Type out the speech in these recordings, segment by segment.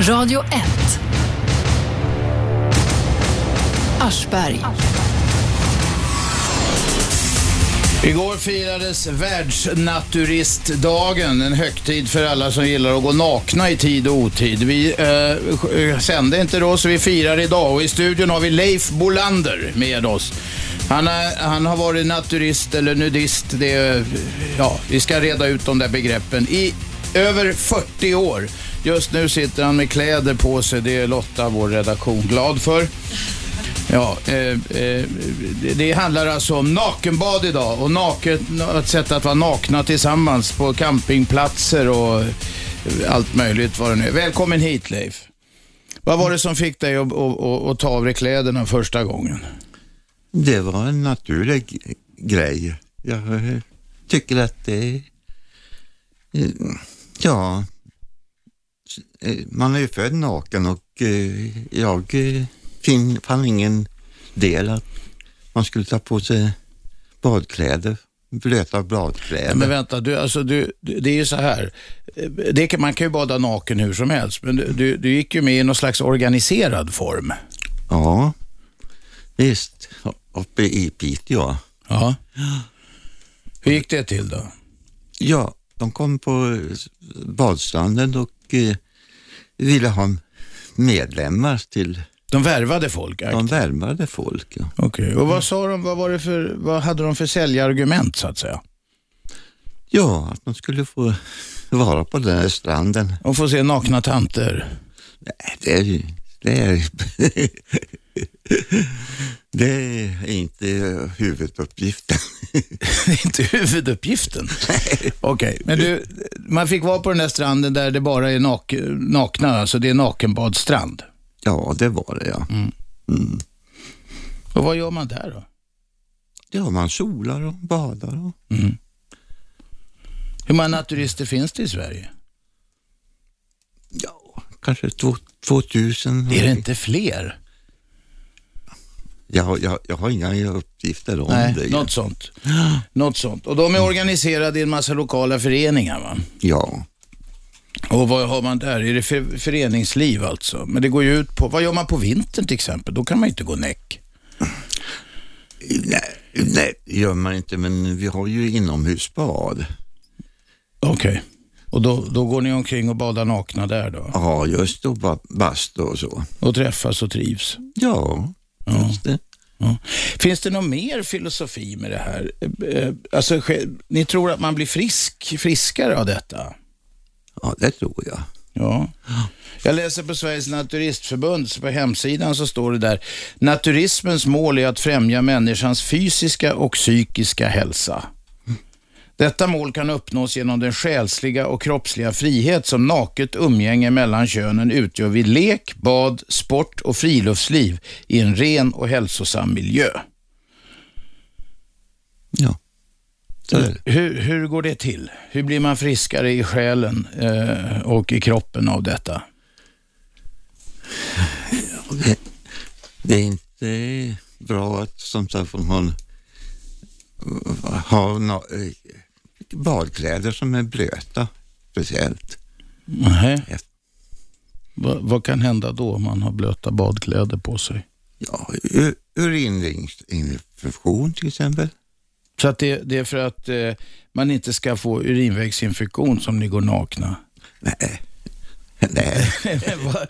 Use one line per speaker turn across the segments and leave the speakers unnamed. Radio 1. Aschberg.
Igår firades världsnaturistdagen, en högtid för alla som gillar att gå nakna i tid och otid. Vi eh, sände inte då, så vi firar idag och i studion har vi Leif Bolander med oss. Han, är, han har varit naturist eller nudist, det, är- ja, vi ska reda ut de där begreppen, i över 40 år. Just nu sitter han med kläder på sig, det är Lotta, vår redaktion, glad för. Ja, eh, eh, det- det handlar alltså om nakenbad idag och naket, ett sätt att vara nakna tillsammans på campingplatser och allt möjligt vad det nu är. Välkommen hit Leif. Vad var det som fick dig att, att, att, att ta av dig kläderna första gången?
Det var en naturlig g- grej. Jag eh, tycker att det eh, Ja, s- eh, man är ju född naken och eh, jag eh, fin, fann ingen del att man skulle ta på sig badkläder, blöta badkläder.
Men vänta, du, alltså, du, du- det är ju så här. Eh, Det kan, man kan ju bada naken hur som helst, men du, du, du gick ju med i någon slags organiserad form.
Ja, visst. Uppe i Piteå.
Ja. Hur gick det till då?
Ja, de kom på badstranden och eh, ville ha medlemmar till...
De värvade folk?
De värvade folk, ja.
Okej, och vad sa de, vad var det för, vad hade de för säljargument så att säga?
Ja, att de skulle få vara på den här stranden.
Och få se nakna tanter?
Nej, det är ju... Det är, det är inte huvuduppgiften.
inte huvuduppgiften. Okej, men du, man fick vara på den där stranden där det bara är nak nakna, alltså det är nakenbadstrand.
Ja, det var det ja. Mm.
Och vad gör man där då?
Ja, man solar och badar och...
Mm. Hur många naturister finns det i Sverige?
Ja, kanske två, 2000.
Är det inte fler?
Jag, har- jag, jag har inga uppgifter om det.
Nej, något sånt. Något sånt. Och de är organiserade i en massa lokala föreningar va?
Ja.
Och vad har man där? Är det för, föreningsliv alltså? Men det går ju ut på, vad gör man på vintern till exempel? Då kan man ju inte gå näck.
Nej, nej, det gör man inte, men vi har ju inomhusbad.
Okej. Och då, då går ni omkring och badar nakna där då?
Ja, just och ba- bastu och så.
Och träffas och trivs?
Ja, just det.
Ja. Finns det någon mer filosofi med det här? Eh, eh, Alltså, sj- ni tror att man blir frisk, friskare av detta?
Ja, det tror jag.
Ja. Jag läser på Sveriges Naturistförbund, så på hemsidan så står det där, naturismens mål är att främja människans fysiska och psykiska hälsa. Detta mål kan uppnås genom den själsliga och kroppsliga frihet som naket umgänge mellan könen utgör vid lek, bad, sport och friluftsliv i en ren och hälsosam miljö.
Ja. Så är det.
Hur, hur går det till? Hur blir man friskare i själen eh, och i kroppen av detta?
Det, det är inte bra att som sagt om man har no, eh, badkläder som är blöta speciellt.
Nej. Va, vad kan hända då om man har blöta badkläder på sig?
Ja, u- urininfektion till exempel.
Så att det, det är för att eh, man inte ska få urinvägsinfektion som ni går nakna?
Nej. Nej.
Men vad,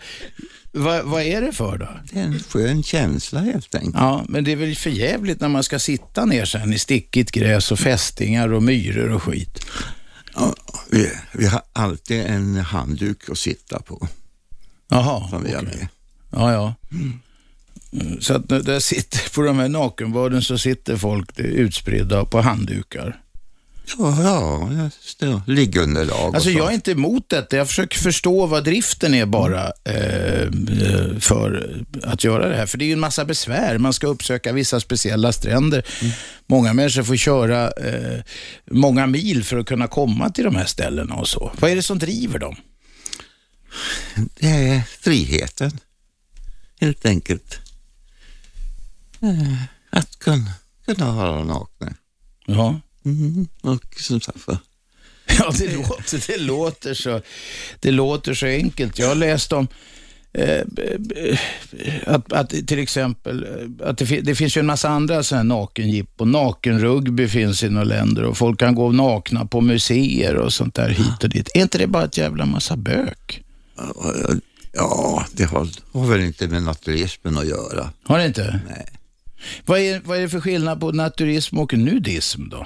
vad, vad är det för då?
Det är en skön känsla helt enkelt.
Ja, men det är väl för jävligt när man ska sitta ner sen i stickigt gräs och fästingar och myror och skit.
Ja, vi, vi har alltid en handduk att sitta på
Jaha,
som vi har med.
Ja, ja. Mm, Så att nu- där sitter, på de här nakenbaden så sitter folk eh, utspridda på handdukar.
Ja, ja just det. Liggunderlag och
Alltså
sånt.
jag är inte emot detta. Jag försöker förstå vad driften är bara eh, eh, för att göra det här. För det är ju en massa besvär. Man ska uppsöka vissa speciella stränder. Många människor får köra eh, många mil för att kunna komma till de här ställena och så. Vad är det som driver dem?
Det är friheten, helt enkelt. Eh, Att kunna, kunna vara nakna.
Ja.
Mm. Och som sagt var,
Ja, det låter, det låter, så, det låter så enkelt. Jag har läst om eh, b- b- att, att till exempel, eh, att det, fi- det finns ju en massa andra sådana här nakenjippon. Nakenrugby finns i några länder och folk kan gå nakna på museer och sånt där hit och dit. Är inte det bara ett jävla massa bök?
Ja, det har, har väl inte med naturismen att göra.
Har det inte?
Nej.
Vad är, vad är det för skillnad på naturism och nudism då?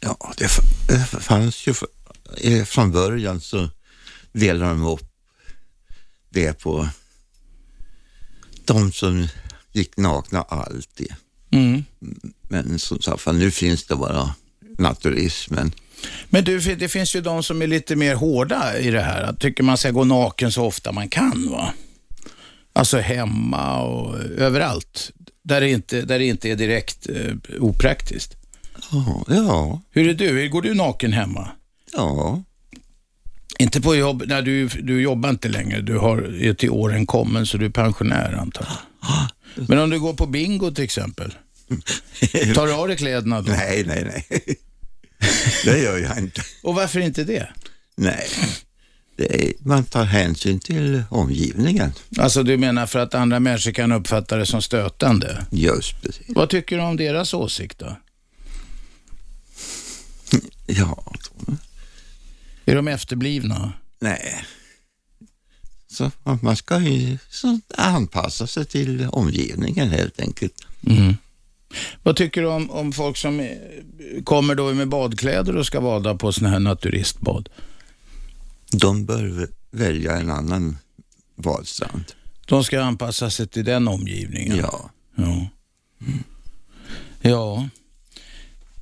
Ja, det, f- det fanns ju f- eh, från början så delade de upp det på de som gick nakna alltid.
Mm.
Men som sagt, för nu finns det bara naturismen.
Men du, det finns ju de som är lite mer hårda i det här. Att tycker man ska gå naken så ofta man kan. va? Alltså hemma och överallt. Där det inte, där det inte är direkt eh, opraktiskt.
Ja, ja,
Hur är du? Går du naken hemma?
ja.
Inte på jobb, nej du, du jobbar inte längre. Du har är till åren kommen så du är pensionär antagligen. Men om du går på bingo till exempel. Tar du av dig kläderna då?
Nej, nej, nej. Det gör jag inte.
Och varför inte det?
Nej. Det är, man tar hänsyn till omgivningen.
Alltså du menar för att andra människor kan uppfatta det som stötande?
Just precis.
Vad tycker du om deras åsikt då?
Ja,
Är de efterblivna?
nej. Så man ska ju så anpassa sig till omgivningen helt enkelt.
Vad tycker du om, om folk som eh, kommer då med badkläder och ska bada på sådana här naturistbad?
De bör vä- välja en annan badstrand.
De ska anpassa sig till den omgivningen.
Ja.
Ja. Mm. ja.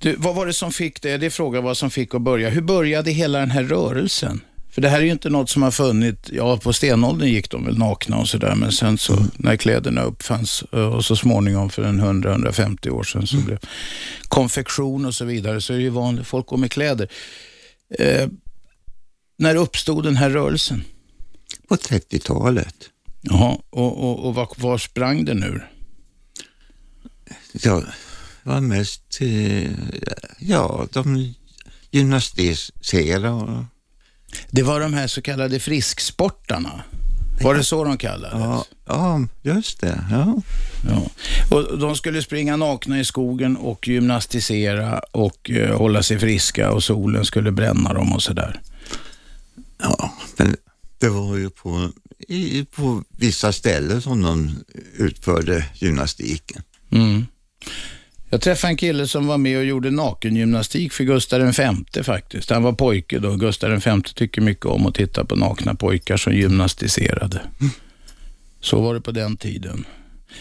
Du, vad var det som fick dig, det är frågan vad som fick att börja. Hur började hela den här rörelsen? För det här är ju inte något som har funnits, ja på stenåldern gick de väl nakna och sådär, men sen så
Mm.
när kläderna uppfanns eh, och så småningom för en 100-150 år sedan så
Mm.
blev konfektion och så vidare, så är det ju vanligt, folk går med kläder. Eh, när uppstod den här rörelsen?
På 30-talet.
Jaha, och, och, och var, var sprang den ur?
Ja, var mest, eh, ja, de gymnastiserade och
Det var de här så kallade frisksportarna. Var det så de kallades?
Ja, ja just det. Ja.
Ja. Och de skulle springa nakna i skogen och gymnastisera och eh, hålla sig friska och solen skulle bränna dem och sådär.
ja, men det var ju på, i, på vissa ställen som de utförde gymnastiken.
Mm. Jag träffade en kille som var med och gjorde nakengymnastik för Gustav V faktiskt. Han var pojke då. Gustav V tycker mycket om att titta på nakna pojkar som gymnastiserade. Så var det på den tiden.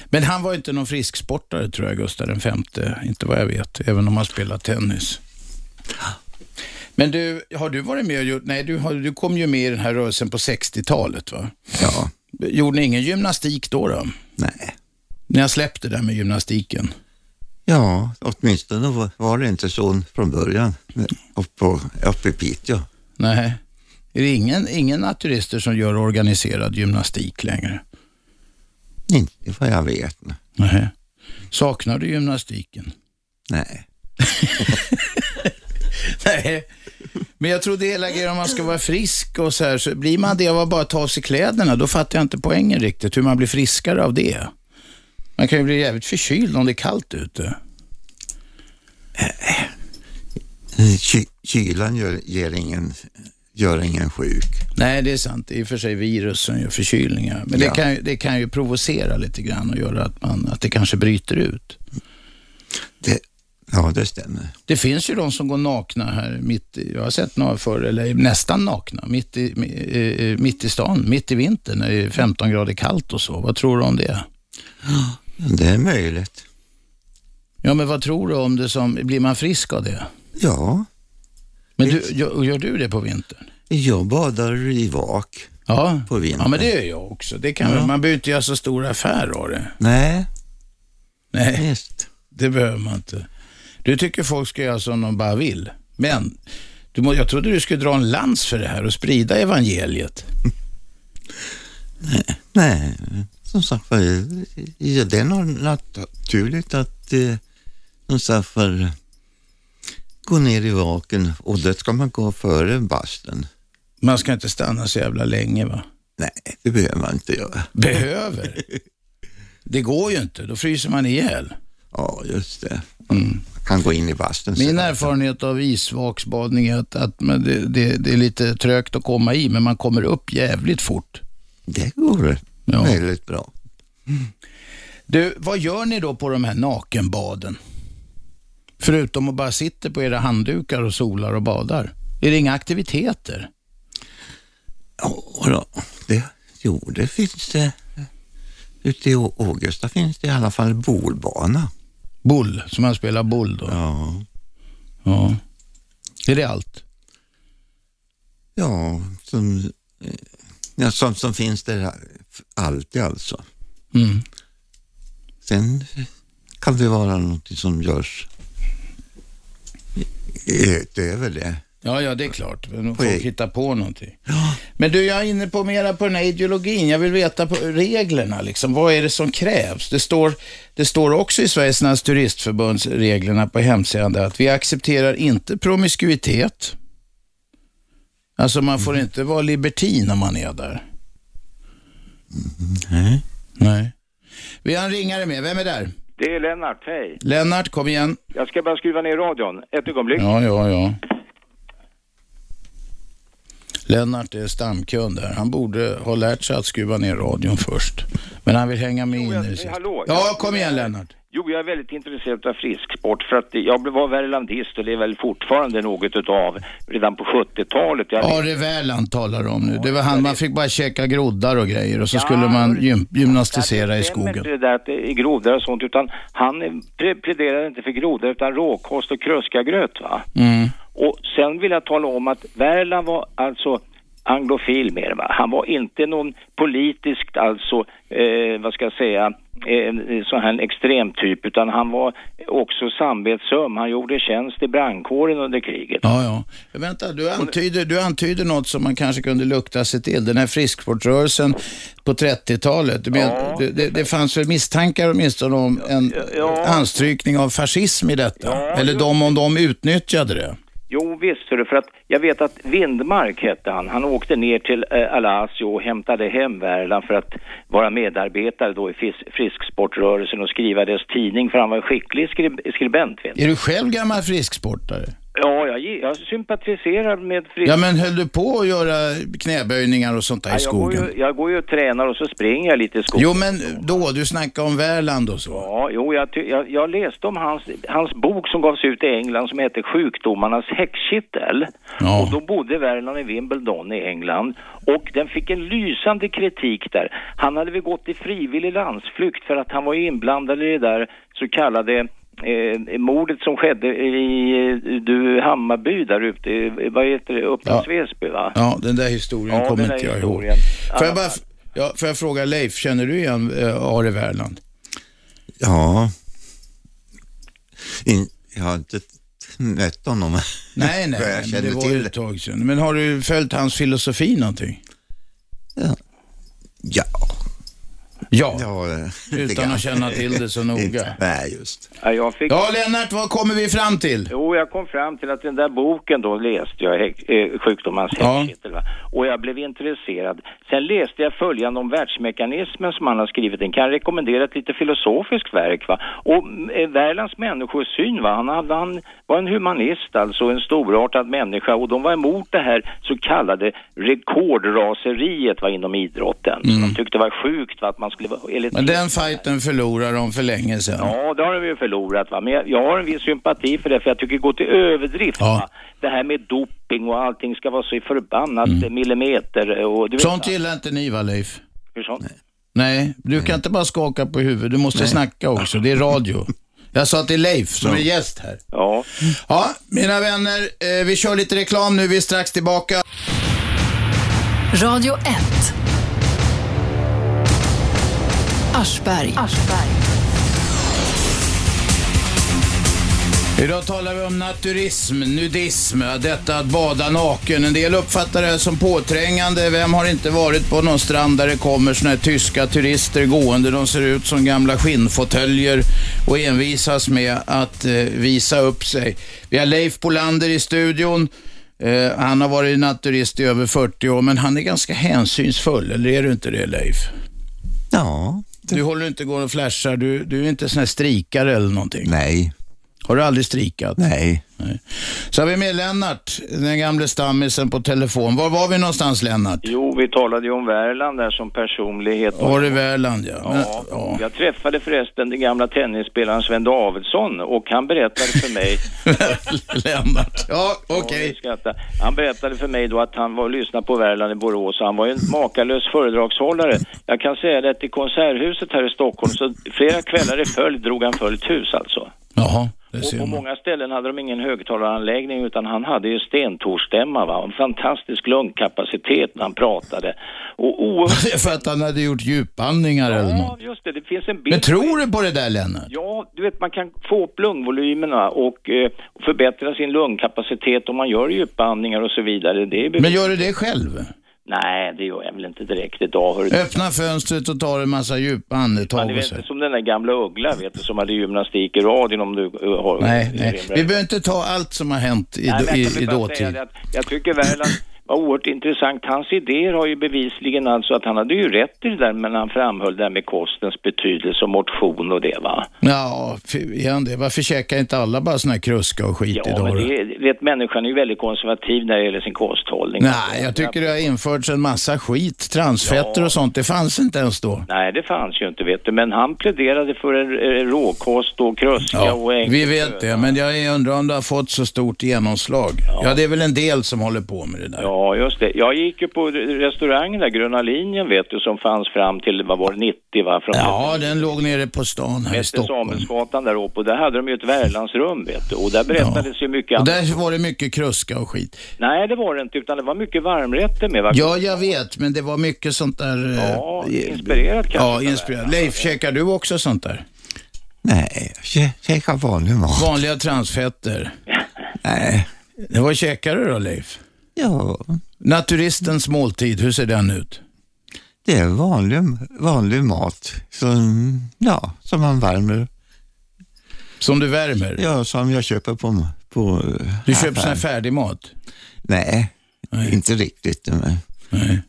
Men han var inte någon frisksportare tror jag, Gustav V. Inte vad jag vet, även om han spelade tennis. Men du, har du varit med och gjort, nej du, har, du kom ju med i den här rörelsen på 60-talet va?
Ja,
Gjorde ni ingen gymnastik då då?
nej.
När jag släppte det där med gymnastiken?
Ja, åtminstone var- var det inte så från början uppe, på, uppe i Piteå.
Nej. Är det ingen, ingen naturister som gör organiserad gymnastik längre?
Inte vad jag vet.
Nej. Saknar du gymnastiken?
Nej.
Nej. Men jag trodde hela grejen om man ska vara frisk och så här, så blir man det av att bara ta av sig kläderna, då fattar jag inte poängen riktigt, hur man blir friskare av det. Man kan ju bli jävligt förkyld om det är kallt ute.
Ky, kylan gör, ger ingen, gör ingen sjuk.
Nej, det är sant. Det är i och för sig virus som gör förkylningar. Men
Ja.
det, kan, ju- det kan ju provocera lite grann och göra att, man, att det kanske bryter ut.
Det, ja, det stämmer.
Det finns ju de som går nakna här mitt i, jag har sett några förr, eller nästan nakna, mitt i, mi- eh, mitt i stan, mitt i vintern när det är 15 grader kallt och så. Vad tror du om det?
Det är möjligt.
Ja, men vad tror du om det som, blir man frisk av det?
Ja,
Men du, gör, gör du det på vintern?
jag badar i vak.
Ja.
På vintern.
Ja, men det gör jag också. Det kan, Man behöver inte göra så stor affär av det.
Nej,
Nej,
visst.
det behöver man inte. Du tycker folk ska göra som de bara vill. Men, du, må- jag trodde du skulle dra en lans för det här och sprida evangeliet.
Nej, som sagt var, ja, det är nog naturligt att eh, som sagt var, gå ner i vaken och det ska man gå före bastun.
Man ska inte stanna så jävla länge va?
Nej, det behöver man inte göra.
Behöver. Det går ju inte, då fryser man ihjäl.
Ja, just det.
Mm.
Man kan gå in i bastun
Min
sen.
erfarenhet av isvaksbadning är att, att men det, det, det är lite trögt att komma i, men man kommer upp jävligt fort.
Det går
Ja.
väldigt bra.
Du, vad gör ni då på de här nakenbaden? Förutom att bara sitta på era handdukar och solar och badar. Är det inga aktiviteter?
Ja, då. Det, jo, det finns det. Ute i Å- Ågesta finns det i alla fall bolbana.
Boll, som man spelar boll då?
Ja.
Ja. Är det allt?
Ja, som, eh, ja, som, som finns där alltid alltså.
Mm.
Sen kan det vara något som görs utöver det.
Ja, ja, det är klart. Men
På
Folk
egen-
hittar på någonting. Men du, jag är inne på mera på den här ideologin. Jag vill veta på reglerna, liksom. Vad är det som krävs? Det står, det står också i Sveriges Nas- turistförbunds reglerna på hemsidan där att vi accepterar inte promiskuitet. Alltså, man får inte vara libertin om man är där.
Nej.
Nej. Vi har en ringare med. Vem är där?
Det är Lennart, hej.
Lennart, kom igen.
Jag ska bara skruva ner radion, ett ögonblick.
Ja, ja, ja. Lennart är stamkund här. Han borde ha lärt sig att skruva ner radion först. Men han vill hänga med in
jag-
nu sist.
hallå,
ja,
jag-
kom igen Lennart.
Jo, jag är väldigt intresserad av frisksport för att jag blev- var värlandist och det är väl fortfarande något utav redan på 70-talet. Jag
Ja, Reväland talar du om nu. Det var han, man fick bara käka groddar och grejer och så skulle man gym- gymnastisera
stämmer
i skogen.
inte det där att det är grodor och sånt utan han eh, pre- pläderade inte för grodor utan råkost och kröskagröt va.
Mm.
Och sen vill jag tala om att Värland var alltså anglofil mer va. Han var inte någon politiskt alltså, eh, vad ska jag säga, eh, sån här extrem typ utan han var också samvetsöm. Han gjorde tjänst i brandkåren under kriget.
Ja, ja. Men Vänta, du antyder, du antyder något som man kanske kunde lukta sig till. Den här frisksportrörelsen på 30-talet. Du men, det, det, det fanns väl misstankar åtminstone om en
ja.
anstrykning av fascism i detta? Eller de om de utnyttjade det?
Jo visst hörru, för att jag vet att Vindmark hette han. Han åkte ner till eh, Alasio och hämtade hem Värland för att vara medarbetare då i fis- frisksportrörelsen och skriva dess tidning för han var en skicklig skri- skribent vet du.
Är du själv gammal frisksportare?
Ja, jag, ge- jag sympatiserar med frisk...
Ja, men höll du på att göra knäböjningar och sånt där i
jag, går
skogen?
ju, jag går ju och tränar och så springer jag lite i skogen.
Jo, men då, du snackade om Värland och så.
Ja, jo, jag, ty- jag, jag läste om hans, hans bok som gavs ut i England som heter Sjukdomarnas häckkittel.
Ja.
Och då bodde Värland i Wimbledon i England. Och den fick en lysande kritik där. Han hade väl gått i frivillig landsflykt för att han var ju inblandad i det där så kallade Eh, mordet som skedde i eh, du, Hammarby där ute, i- vad heter det, Upplands Väsby va?
Ja, den där historien
Ja,
kommer
den där
inte jag ihåg.
historien.
Får jag,
Alla
bara,
fall.
ja, får jag fråga Leif, känner du igen eh, Are Värland?
Ja. In, jag har inte mött honom.
Nej, nej,
Vad jag
nej, men
känner
det var
till
ju
det.
ett tag sedan. Men har du följt hans filosofi någonting?
Ja,
Ja,
ja eh, lite
utan
grann.
att känna till det så noga.
Nej, just.
Ja, jag fick...
Ja, Lennart, vad kommer vi fram till?
Jo, jag kom fram till att den där boken då läste jag, häck- eh, Sjukdomans
Ja.
häxkittel, va? och jag blev intresserad. Sen läste jag följande om världsmekanismen som han har skrivit. Den kan jag rekommendera ett lite filosofiskt verk. Va? Och eh, Värlands människosyn, va? Han, hade, han var en humanist, alltså en storartad människa, och de var emot det här så kallade rekordraseriet va? inom idrotten. Som de tyckte var sjukt va? att man skulle vara... enligt-
Mm. Men den fighten förlorar de för länge sedan.
Ja, det har de ju förlorat va. Men jag, jag har en viss sympati för det för jag tycker det går till överdrift
Ja.
va. Det här med doping och allting ska vara så förbannat millimeter eh, och du vet
Mm. Sånt
va?
gillar inte ni va, Leif?
Hur sånt?
Nej, du kan inte bara skaka på huvudet. Du måste snacka också. Det är radio. Jag sa till Leif, som är gäst här.
Ja.
Ja, mina vänner, eh, vi kör lite reklam nu. Vi är strax tillbaka.
Radio 1. Aschberg.
Idag talar vi om naturism, nudism, detta att bada naken. En del uppfattar det här som påträngande. Vem har inte varit på någon strand där det kommer såna här tyska turister gående. De ser ut som gamla skinnfåtöljer och envisas med att eh, visa upp sig. Vi har Leif Bolander i studion. Eh, han har varit naturist i över 40 år, men han är ganska hänsynsfull. Eller är du inte det, Leif?
Ja,
Du håller inte gå och flashar. Du, du är inte sån här strikare eller någonting.
nej,
Har du aldrig strikat?
nej.
Nej. Så har vi med Lennart, den gamle stammisen på telefon. Var var vi någonstans Lennart?
Jo, vi talade ju om Värland där som personlighet.
Var det Värland ja. Men-
Ja,
ja.
jag träffade förresten den gamla tennisspelaren Sven Davidsson och han berättade för mig
Lennart. Ja, okej.
Ja, vi skrattar. Han berättade för mig då att han var och lyssnade på Värland i Borås och han var ju en makalös föredragshållare. Jag kan säga det att i Konserthuset här i Stockholm så flera kvällar i följd drog han fullt hus alltså.
Jaha, det ser
Och på
man.
många ställen hade de ingen högtalaranläggning utan han hade ju stentorstämma va. En fantastisk lungkapacitet när han pratade. Och oerhört...
Det är för att han hade gjort djupandningar eller
Ja,
något.
just det. Det finns en bild
Men tror du på det där Lennart?
Ja, du vet man kan få upp lungvolymerna och eh, förbättra sin lungkapacitet om man gör djupandningar och så vidare. Det är bevis-
Men gör du det själv?
Nej, det gör jag väl inte direkt idag. Hör du.
Öppna fönstret och ta en massa djupa
Man är
andetag
väl
och så. här.
inte som den där gamla Uggla vet du, som hade gymnastik i radion om du eh, har...
Nej, nej.
erinrar
Vi
dig.
behöver inte ta allt som har hänt i,
Nej, men jag
i,
kan väl
i
bara
dåtid.
säga det att Jag tycker Värland var oerhört intressant. Hans idéer har ju bevisligen alltså att han hade ju rätt i det där, men han framhöll det här med kostens betydelse och motion och det va.
Ja, fy- är han det? Varför käkar inte alla bara såna här kruska och skit
Ja,
idag?
men
då?
det, är- vet, människan är ju väldigt konservativ när det gäller sin kosthållning.
Nej, jag tycker det har införts en massa skit. Transfetter och sånt, det fanns inte ens då.
Nej, det fanns ju inte vet du, men han pläderade för en, en råkost och kruska och
Ja,
ägg.
vi vet det, men jag undrar om det har fått så stort genomslag. Ja, det är väl en del som håller på med det där.
Ja, just det. Jag gick ju på restaurangen där, Gröna linjen vet du, som fanns fram till, vad var det, 90 va? Från
Ja, den låg nere på stan här i
Efter
Stockholm.
Samuelsgatan där uppe och där hade de ju ett Värlandsrum vet du och där berättades ju mycket
Och
annat.
där var det mycket kruska och skit.
Nej det var det inte utan det var mycket varmrätter med va?
Ja, jag vet, men det var mycket sånt där... eh,
Ja,
eh,
inspirerat kanske.
Ja, inspirerat. Leif, käkar du också sånt där?
Nej, jag käkar vanlig mat.
Vanliga transfetter.
Nej,
Vad käkar du då, Leif?
ja,
Naturistens måltid, hur ser den ut?
det är vanlig, vanlig mat som, ja, som man värmer.
Som du värmer?
Ja, som jag köper på... på
Du
affären.
köper sån här färdigmat?
Nej, inte riktigt. Men,
Nej.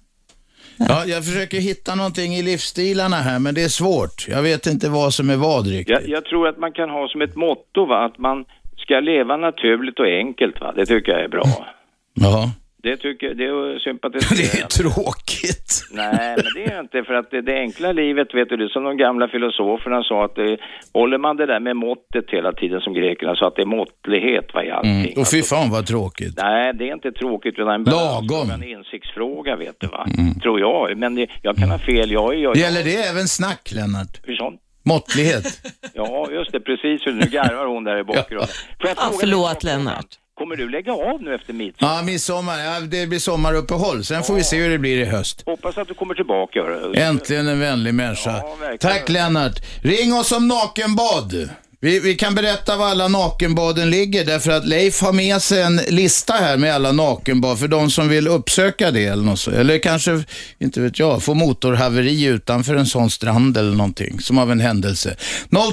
Ja, jag försöker hitta någonting i livsstilarna här, men det är svårt. Jag vet inte vad som är vad riktigt.
Jag, jag tror att man kan ha som ett motto va, att man ska leva naturligt och enkelt va. Det tycker jag är bra.
Ja.
Det tycker, det är
Det är
sympatiserar
tråkigt.
Nej, men det är inte för att det, det enkla livet, vet du, det är som de gamla filosoferna sa att det, håller man det där med måttet hela tiden som grekerna sa att det är måttlighet va, i allting.
Mm. Och fy fan vad tråkigt.
Nej, det är inte tråkigt utan en
Lagom. Mm.
balansfråga, en insiktsfråga vet du va, tror jag. Men det, jag kan ha fel, jag är jag, jag,
Gäller det även snack, Lennart?
hur sånt?
Måttlighet?
Ja, just det, precis, nu garvar hon där i bakgrunden. Får
Ja,
jag fråga dig en sak,
förlåt Lennart.
Kommer du lägga av nu efter midsommar?
Ja, midsommar. Ja, det blir sommaruppehåll. Sen får vi se hur det blir i höst.
Hoppas att du kommer tillbaka. hörru.
Äntligen en vänlig människa.
Ja, verkligen.
Tack Lennart. Ring oss om nakenbad. Vi, vi kan berätta var alla nakenbaden ligger därför att Leif har med sig en lista här med alla nakenbad för de som vill uppsöka det eller något så. Eller kanske, inte vet jag, få motorhaveri utanför en sån strand eller någonting som av en händelse.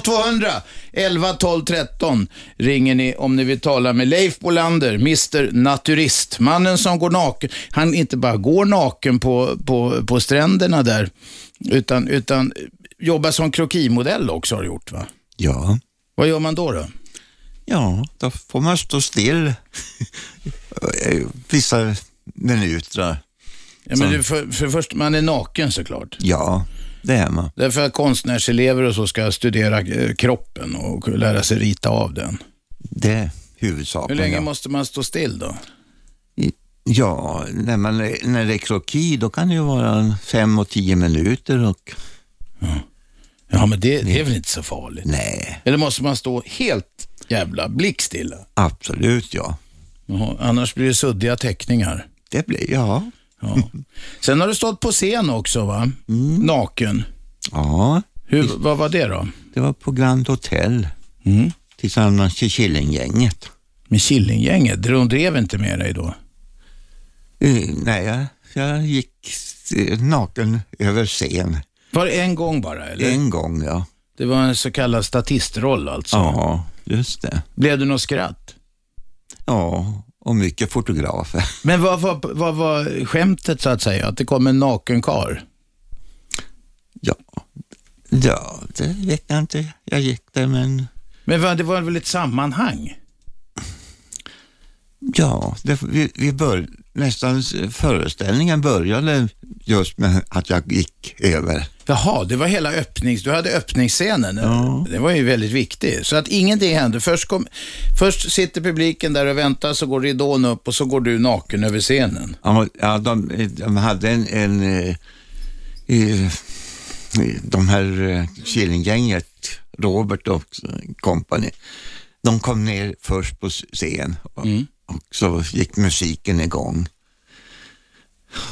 0200 11 12 13 ringer ni om ni vill tala med Leif Bolander, Mr Naturist. Mannen som går naken. Han inte bara går naken på, på, på stränderna där utan, utan jobbar som krokimodell också har du gjort va?
ja.
Vad gör man då? då?
Ja, då får man stå still Eh, vissa minuter.
Ja, men det, för, för först, man är naken såklart.
Ja, det är man.
Därför att konstnärselever och så ska studera eh, kroppen och lära sig rita av den.
Det är
Hur
huvudsaken.
länge
ja.
måste man stå still då?
Ja, när, man, när det är kroki då kan det ju vara en fem och tio minuter och
Ja, men det, det är väl inte så farligt?
nej,
Eller måste man stå helt jävla blickstilla?
absolut ja.
Jaha, annars blir det suddiga teckningar.
Det blir, ja.
Ja. Sen har du stått på scen också va? Naken.
Mm. Ja,
Hur, vad var det då?
det var på Grand Hotel.
Mm.
tillsammans i Killinggänget.
Med Killinggänget? De drev inte med dig då?
Eh, nej, jag, jag gick eh, naken över scen.
Var det en gång bara eller?
En gång, ja.
Det var en så kallad statistroll alltså?
Ja, just det.
Blev det något skratt?
Ja, och mycket fotografer.
Men vad var vad var skämtet så att säga? Att det kom en naken karl?
Ja, ja det vet jag inte. Jag gick där, men
Men vad, det var väl ett sammanhang?
ja, det, vi, vi bör, nästan s- föreställningen började just med att jag gick över.
Jaha, det var hela öppnings... Du hade öppningsscenen. Det var ju väldigt viktigt. Så att ingenting hände. Först, kom, först sitter publiken där och väntar, så går ridån upp och så går du naken över scenen.
Ja, ja, de, de hade en, en eh, i, i de här eh, Killinggänget, Robert och kompani, de kom ner först på scen och, och så gick musiken igång.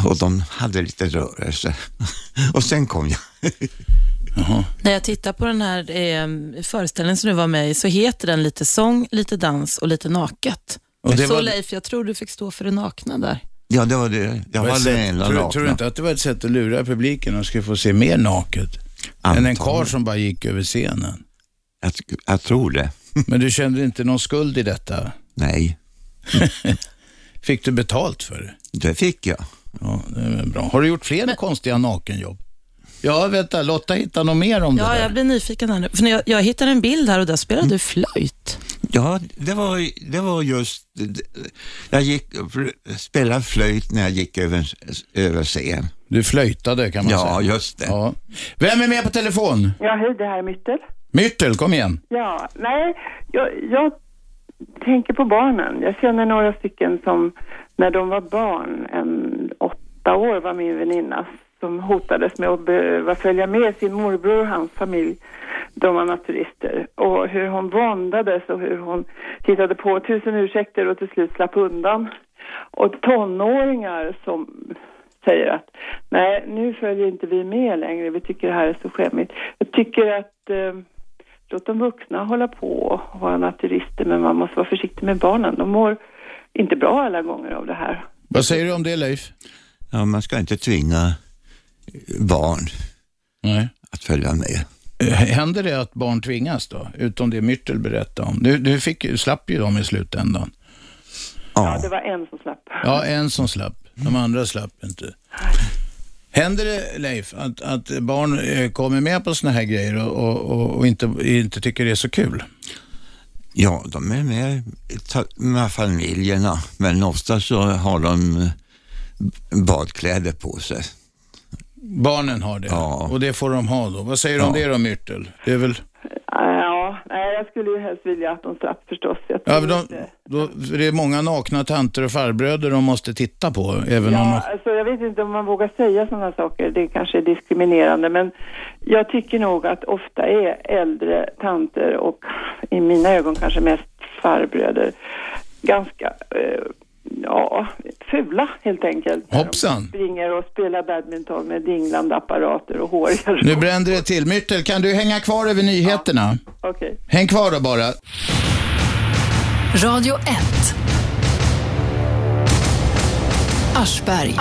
Och de hade lite rörelse. Och sen kom jag.
När jag tittar på den här eh, föreställningen som du var med i så heter den lite sång, lite dans och lite naket.
Och det
så
var-
Leif, jag tror du fick stå för det nakna där.
Ja, det var det. Jag var den enda
tror, tror du
nakna.
inte att det var ett sätt att lura publiken och skulle få se mer naket? Än en
Antagligen.
karl som bara gick över scenen.
Jag, jag tror det.
Men du kände inte någon skuld i detta?
Nej,
Fick du betalt för det?
det fick jag.
Ja, det är väl bra. Har du gjort fler konstiga nakenjobb? Ja, vänta, Lotta hittar något mer om det
Ja,
där.
jag blir nyfiken här nu. För när jag, jag hittade en bild här och där spelade
Mm.
du flöjt.
Ja, det var, det var just... Jag gick, spelade flöjt när jag gick över, över scen.
Du flöjtade kan man
Ja,
säga.
just det.
Ja. Vem är med på telefon?
Ja, hej, det här är Myttel.
Myrtel, kom igen.
Ja, nej, jag, jag tänker på barnen. Jag känner några stycken som när de var barn, en åtta år var min väninna, som hotades med att behöva följa med sin morbror och hans familj. De var naturister. Och hur hon våndades och hur hon hittade på tusen ursäkter och till slut slapp undan. Och tonåringar som säger att nej, nu följer inte vi med längre, vi tycker det här är så skämmigt. Jag tycker att eh, Låt de vuxna hålla på och vara naturister, men man måste vara försiktig med barnen. De mår inte bra alla gånger av det här.
Vad säger du om det, Leif?
Ja, man ska inte tvinga barn
Nej.
att följa med.
Händer det att barn tvingas då? Utom det Myrtel berättade om. Du, du fick, ju- slapp ju dem i slutändan.
Ja,
Ja,
det var en som slapp.
Ja, en som slapp. De andra slapp inte. Händer det, Leif, att, att barn eh, kommer med på såna här grejer och, och, och, och inte, inte tycker det är så kul?
ja de är med, ta- med familjerna, men ofta så har de badkläder på sig.
Barnen har det
Ja.
och det får de ha då. Vad säger du om
Ja.
det då, Myrtel? Det är väl...
Ja, nej, jag skulle ju helst vilja att de slapp förstås. Jag tror
Ja, men de,
inte-
då, för det är många nakna tanter och farbröder de måste titta på. Även om de,
Ja, alltså, jag vet inte om man vågar säga sådana saker, det kanske är diskriminerande, men jag tycker nog att ofta är äldre tanter och i mina ögon kanske mest farbröder ganska, eh, ja, fula helt enkelt. När de
Hoppsan.
springer och spelar badminton med dinglande apparater och håriga
nu brände det till. Myrtel, kan du hänga kvar över nyheterna?
Okej.
Häng kvar då bara.
Radio 1. Aschberg.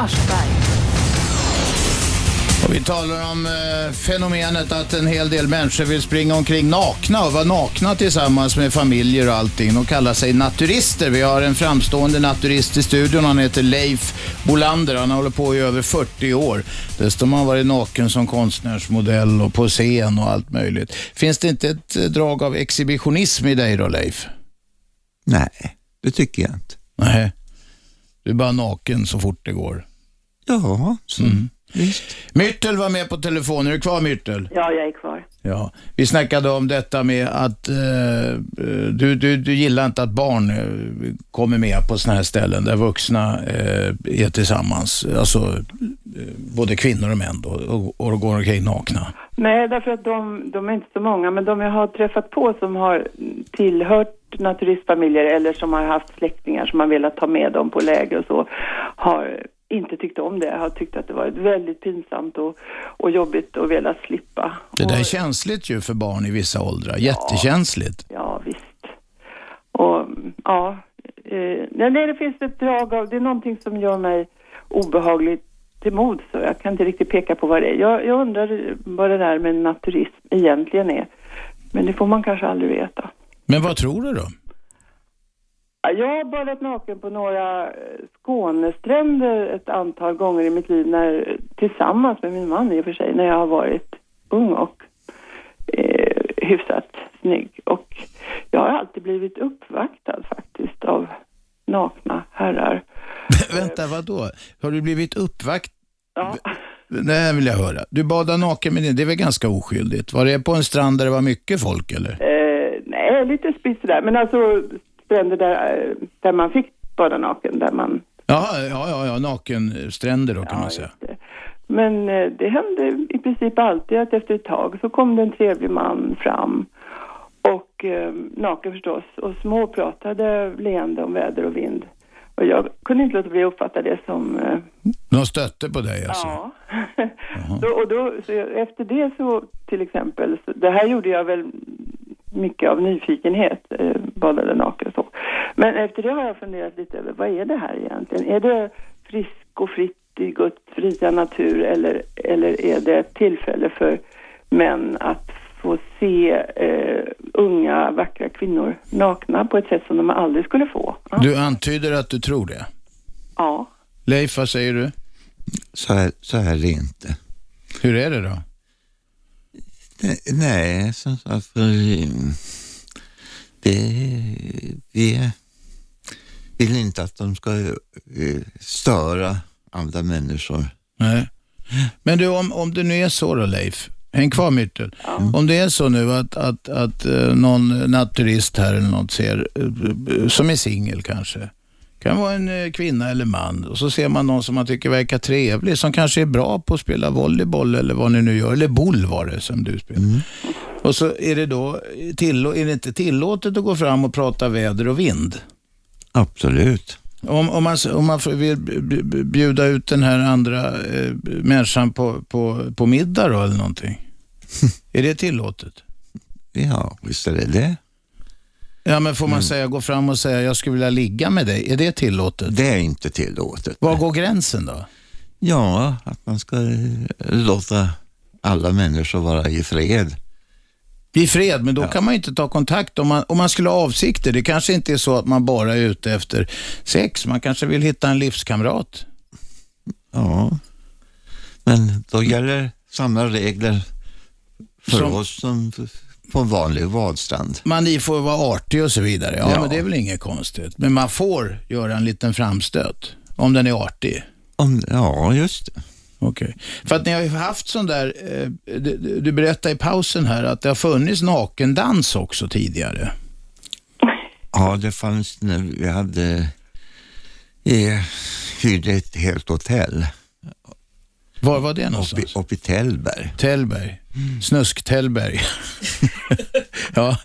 Och vi talar om eh, fenomenet att en hel del människor vill springa omkring nakna och vara nakna tillsammans med familjer och allting. De kallar sig naturister. Vi har en framstående naturist i studion. Han heter Leif Bolander. Han har hållit på i över 40 år. Dessutom har han varit naken som konstnärsmodell och på scen och allt möjligt. Finns det inte ett eh, drag av exhibitionism i dig då, Leif?
Nej, det tycker jag inte.
Nej. Du är bara naken så fort det går.
Ja, så, visst.
Myrtel Mm. var med på telefon. Är du kvar, Myrtel?
Ja, jag är kvar.
Ja, vi snackade om detta med att eh, du, du, du gillar inte att barn eh, kommer med på sådana här ställen där vuxna eh, är tillsammans. Alltså eh, både kvinnor och män då, och, och går omkring nakna.
Nej, därför att de, de är inte så många, men de jag har träffat på som har tillhört naturistfamiljer eller som har haft släktingar som har velat ta med dem på läger och så, har inte tyckt om det. Har tyckt att det varit väldigt pinsamt och, och jobbigt och velat slippa.
Det där är
och,
känsligt ju för barn i vissa åldrar. Jättekänsligt.
ja, visst. ja. Eh, nej, nej, det finns ett drag av, det är någonting som gör mig obehagligt till mods och jag kan inte riktigt peka på vad det är. Jag, jag undrar vad det där med naturism egentligen är. Men det får man kanske aldrig veta.
Men vad tror du då?
Ja, Jag har badat naken på några eh, Skånestränder ett antal gånger i mitt liv när, tillsammans med min man i och för sig, när jag har varit ung och eh, hyfsat snygg. Och jag har alltid blivit uppvaktad faktiskt av nakna herrar.
Vänta, vad då? Har du blivit uppvakt? Ja. Det här vill jag höra. Du badade naken med din, det är väl ganska oskyldigt? Var det på en strand där det var mycket folk eller?
Eh, nej, lite spis där, men alltså stränder där, eh, där man fick bada naken, där man
Jaha, ja, ja, ja, nakenstränder då kan man säga.
Men eh, det hände i princip alltid att efter ett tag så kom det en trevlig man fram och eh, naken förstås och småpratade leende om väder och vind. Och jag kunde inte låta bli att uppfatta det som... Eh,
De stötte på dig alltså?
ja. så, och då, så jag- efter det så till exempel, så, det här gjorde jag väl mycket av nyfikenhet, eh, badade naken och så. Men efter det har jag funderat lite över vad är det här egentligen? Är det frisk och fritt i Guds fria natur eller, eller är det ett tillfälle för män att få se eh, unga vackra kvinnor nakna på ett sätt som de aldrig skulle få?
Du antyder att du tror det.
Ja.
Leif, vad säger du?
Så här, så här är det inte.
Hur är det då?
Nej, nej som sagt, för mm, det, vi vill inte att de ska eh, störa andra människor.
Nej. Men du, om, om det nu är så då Leif, häng kvar Myrtel. Om det är så nu att, att, att eh, någon naturist här eller något ser, eh, som är singel kanske, kan vara en eh, kvinna eller man och så ser man någon som man tycker verkar trevlig, som kanske är bra på att spela volleyboll eller vad ni nu gör, eller boll var det som du spelar. Och så är det då till, är det inte tillåtet att gå fram och prata väder och vind?
Absolut.
Om, om man, om man får- vill b- b- bjuda ut den här andra eh, b- människan på, på, på middag då, eller någonting? är det tillåtet?
Ja, visst är det det.
Ja, men får man
Mm.
säga, gå fram och säga, jag skulle vilja ligga med dig. Är det tillåtet?
Det är inte tillåtet.
Var går gränsen då?
Ja, att man ska eh, låta alla människor vara i fred.
I fred, men då kan man ju inte ta kontakt om man, om man skulle ha avsikter. Det kanske inte är så att man bara är ute efter sex. Man kanske vill hitta en livskamrat.
Ja, men då gäller samma regler för
Mm. Som-
oss som f- på en vanlig vadstrand.
Man ni får vara artig och så vidare. Ja,
Ja.
men det är väl inget konstigt. Men man får göra en liten framstöt, om den är artig.
Om, ja, just det.
Okej. För att ni har ju haft sån där, eh, du, du- du berättade i pausen här att det har funnits nakendans också tidigare.
Ja, det fanns när vi hade eh, hyrde ett helt hotell
Var var det
uppe,
någonstans?
i- uppe i Tällberg.
Tällberg. Snusk-Tällberg. ja.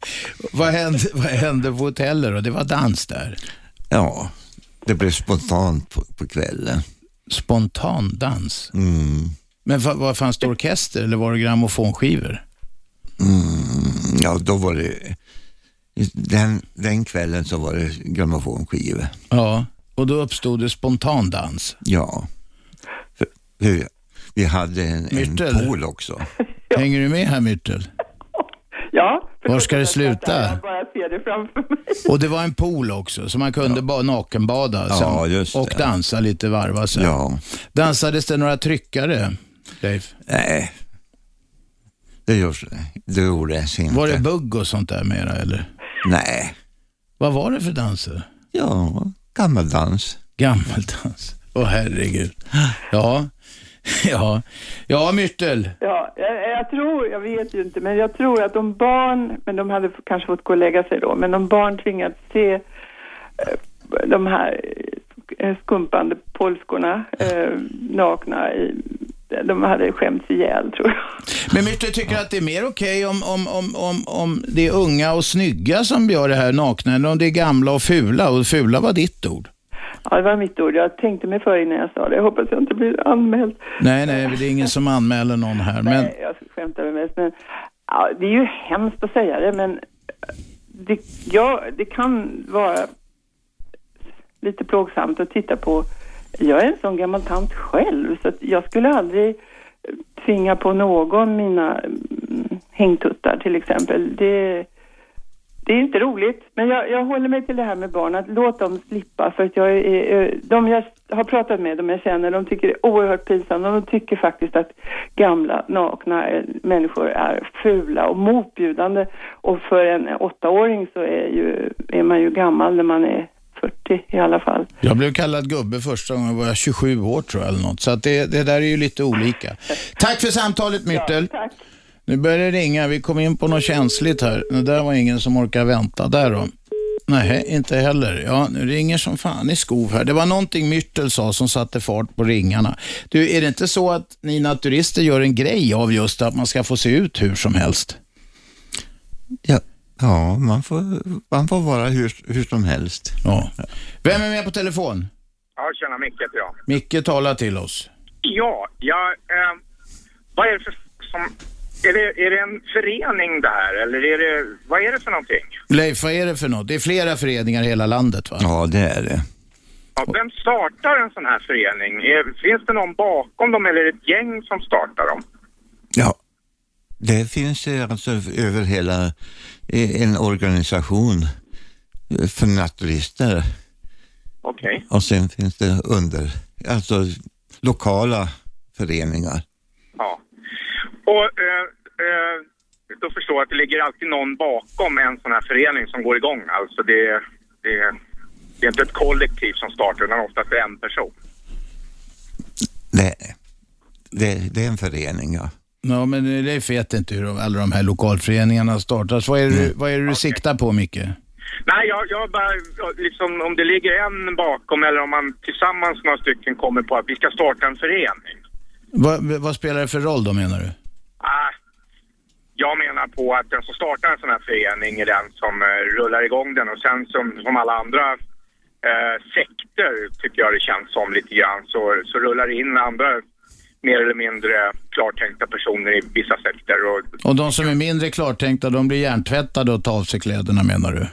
Vad hände, vad hände på hotellet då? Det var dans där.
Ja, det blev spontant på, på kvällen.
Spontan dans.
Mm.
Men fa- vad fanns det orkester eller var det grammofonskivor?
Mm, ja, då var det... Den, den kvällen så var det grammofonskivor.
Ja. Och då uppstod det spontan dans.
Ja. För, vi, vi hade en, en
Myrtel.
pool också.
Hänger du med här Myrtel?
Ja,
Var ska det sluta?
Jag bara ser det framför mig.
Och det var en pool också, så man kunde ba- nakenbada
Ja,
sen,
just det.
och dansa lite varva sen.
Ja.
Dansades det några tryckare, Leif?
Nej. Det görs det gjordes inte.
Var det bugg och sånt där mera, eller?
Nej.
Vad var det för danser?
Ja, gammeldans.
Gammeldans. Åh herregud. Ja, ja. Ja, Myrtel.
Ja, jag, jag tror, jag vet ju inte, men jag tror att om barn, men de hade f- kanske fått gå och lägga sig då, men om barn tvingats se eh, de här eh, skumpande polskorna eh, nakna, i, de hade skämts ihjäl tror jag.
Men Myrtel tycker att det är mer okej om, om, om, om, om det är unga och snygga som gör det här nakna, än om det är gamla och fula. Och fula var ditt ord.
Ja, det var mitt ord, jag tänkte mig för innan jag sa det, jag hoppas jag inte blir anmäld.
Nej, nej, det är ingen som anmäler någon här. Men...
Nej, jag skämtade mest, men ja, det är ju hemskt att säga det, men det, ja, det kan vara lite plågsamt att titta på. Jag är en sån gammal tant själv så att jag skulle aldrig tvinga på någon mina mm, hängtuttar till exempel. Det, det är inte roligt, men jag, jag håller mig till det här med barn, att låt dem slippa för att jag är, eh, de jag har pratat med, de jag känner, de tycker det är oerhört pinsamt och de tycker faktiskt att gamla nakna eh, människor är fula och motbjudande och för en åttaåring så är, ju, är man ju gammal när man är 40 i alla fall.
Jag blev kallad gubbe första gången jag var 27 år tror jag eller något. Så att det, det där är ju lite olika. Tack för samtalet Myrtel.
tack.
Nu börjar det ringa. Vi kom in på något känsligt här. Det där var ingen som orkar vänta. Där då. Nej, inte heller. Ja, nu ringer som fan i skov här. Det var någonting Myrtel sa som satte fart på ringarna. Du, är det inte så att ni naturister gör en grej av just att man ska få se ut hur som helst?
Ja, ja man, får, man får vara hur, hur som helst.
Ja. Vem är med på telefon?
Ja, tjena Micke heter jag.
Micke talar till oss.
Ja, jag... Eh, vad är det för som... Är det, är det en förening det här eller är det... Vad är det för någonting?
Leif, vad är det för något? Det är flera föreningar i hela landet va?
Ja, det är det.
Ja, vem startar en sån här förening? Är, finns det någon bakom dem eller är det ett gäng som startar dem?
Ja. Det finns eh, alltså över hela eh, en organisation eh, för naturister
Okej.
och sen finns det under, alltså lokala föreningar.
Ja. Och eh, eh, då förstår jag att det ligger alltid någon bakom en sån här förening som går igång. Alltså det, det, det är inte ett kollektiv som startar utan oftast en person.
Det, det, det är en förening, ja.
Ja, men Leif vet inte hur de, alla de här lokalföreningarna startas. Vad är det, du- vad är det du siktar på, Micke?
Nej, jag, jag bara, liksom, om det ligger en bakom eller om man tillsammans några stycken kommer på att vi ska starta en förening.
Vad, vad spelar det för roll då, menar du?
Ah, jag menar på att den som startar en sån här förening är den som eh, rullar igång den och sen som, som alla andra eh, sekter tycker jag det känns som lite grann så, så rullar det in andra mer eller mindre klartänkta personer i vissa sekter och
Och de som är mindre klartänkta, de blir hjärntvättade och tar av sig kläderna, menar du?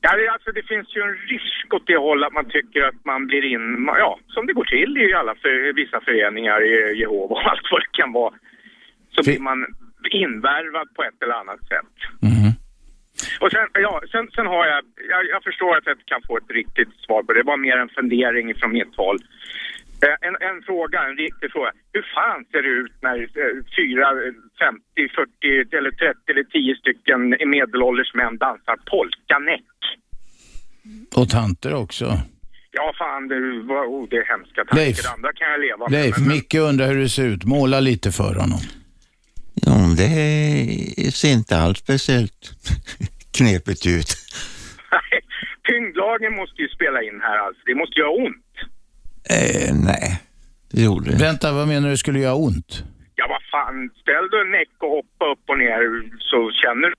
Ja, det, är alltså, det finns ju en risk åt det hållet att man tycker att man blir in, ma- ja, som det går till i alla för, vissa föreningar, i Jehova och allt vad det kan vara, så blir man invärvad på ett eller annat sätt. Och sen, ja, sen, sen har jag, jag, jag förstår att jag inte kan få ett riktigt svar på det, det var mer en fundering från mitt håll. Eh, En, en fråga, en riktig fråga. Hur fan ser det ut när eh, fyra, eh, 50, 40 eller 30 eller 10 stycken medelålders män dansar polkanäck?
Och tanter också.
Ja, fan, det, var, oh, det är hemska tankar.
Leif.
Det andra kan jag leva med.
Leif,
men-
Micke undrar hur det ser ut. Måla lite för honom.
Ja, det ser inte alls speciellt knepigt ut.
Nej, Tyngdlagen måste ju spela in här alltså. Det måste göra ont.
Eh, nej, det gjorde det.
Vänta, vad menar du skulle göra ont?
Ja, vad fan. Ställ dig en näck och hoppa upp och ner så känner du.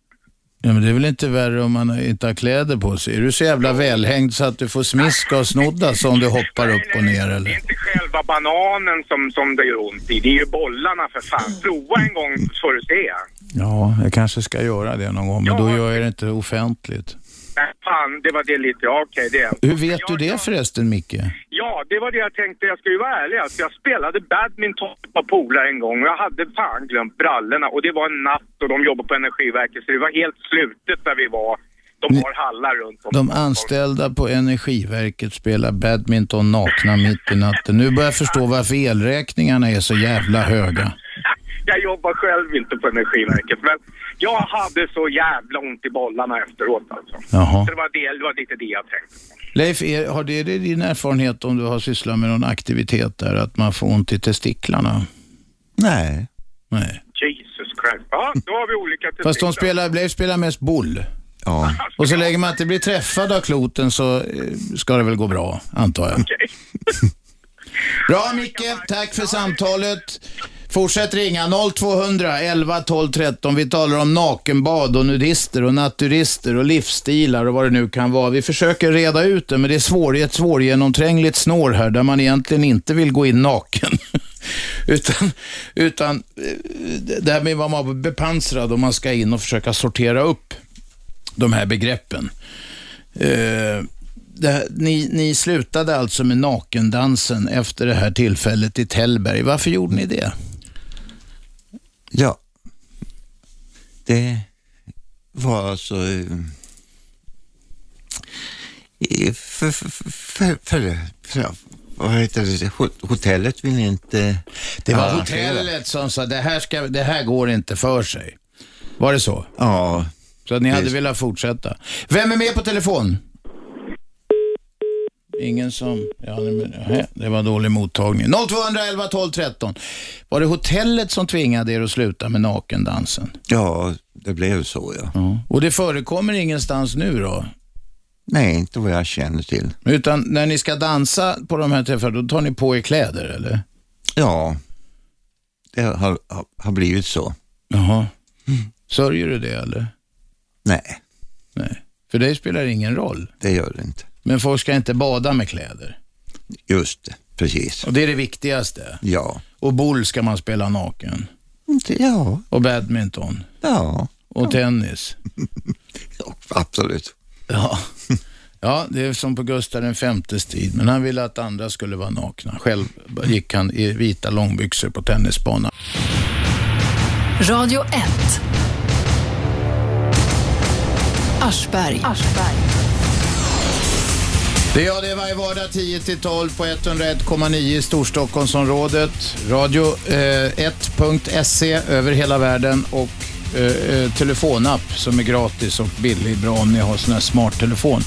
Ja, men det är väl inte värre om man inte har kläder på sig? Är du så jävla välhängd så att du får smiska och snodda så om du hoppar upp och ner,
Det är
eller?
inte själva bananen som, som det gör ont i. Det är ju bollarna för fan. Prova en gång får du se.
Ja, jag kanske ska göra det någon gång, men då
Ja.
gör jag det inte offentligt.
Nej, fan, det var det lite. Ja, okej, det.
Hur vet du det förresten, Micke?
Ja, det var det jag tänkte. Jag ska ju vara ärlig. Alltså, jag spelade badminton med ett par polare en gång och jag hade fan glömt brallorna. Och det var en natt och de jobbade på Energiverket så det var helt slutet där vi var. De har hallar runt om.
De anställda på Energiverket spelar badminton nakna mitt i natten. Nu börjar jag förstå varför elräkningarna är så jävla höga.
Jag jobbar själv inte på Energiverket men jag hade så jävla ont i bollarna efteråt alltså.
Jaha.
Så det var, det, det var lite det jag tänkte.
Leif, är, har det det din erfarenhet om du har sysslat med någon aktivitet där, att man får ont i testiklarna?
Nej.
Nej.
Jesus Christ. Ja, då har vi olika
Fast
tekniker.
de spelar, Leif spelar mest boll.
Ja.
Och så länge man inte blir träffad av kloten så eh, ska det väl gå bra, antar jag. Bra Micke, tack för samtalet. Fortsätt ringa 0200 11 12 13. Vi talar om nakenbad och nudister och naturister och livsstilar och vad det nu kan vara. Vi försöker reda ut det, men det är svår, ett svårgenomträngligt snår här där man egentligen inte vill gå in naken. Utan, utan eh, det här med vad man är bepansrad och man ska in och försöka sortera upp de här begreppen. Eh, det här, ni, ni slutade alltså med nakendansen efter det här tillfället i Tällberg. Varför gjorde ni det?
Ja, det var alltså eh, i- för, för, för, för, för, vad heter det, Hot- hotellet ville inte
Det var
arrangera.
hotellet som sa det här, ska, det här går inte för sig. Var det så?
Ja.
Så ni hade
Visst.
velat fortsätta. Vem är med på telefon? Ingen som... Ja, nej, men- nej, det var dålig mottagning. 0211 12 13. Var det hotellet som tvingade er att sluta med nakendansen?
Ja, det blev så ja.
Och det förekommer ingenstans nu då?
Nej, inte vad jag känner till.
Utan när ni ska dansa på de här träffarna, då tar ni på er kläder eller?
Ja, det har, har, har blivit så.
Jaha. Sörjer du det eller?
Nej,
Nej. För dig spelar det ingen roll.
det gör det inte.
Men folk ska inte bada med kläder.
Just det, precis.
Och det är det viktigaste.
Ja,
Och boll ska man spela naken.
inte ja,
Och badminton.
ja,
Och tennis.
ja, absolut.
Ja. ja, det är som på Gustav den femtes tid. Men han ville att andra skulle vara nakna. Själv gick han i vita långbyxor på tennisbanan.
Radio 1. Aschberg.
Det är jag, det är varje vardag 10-12 på 101,9 i Storstockholmsområdet. Radio eh, 1.se E över hela världen och eh, eh, telefonapp som är gratis och billig. Bra om ni har sån här smarttelefon.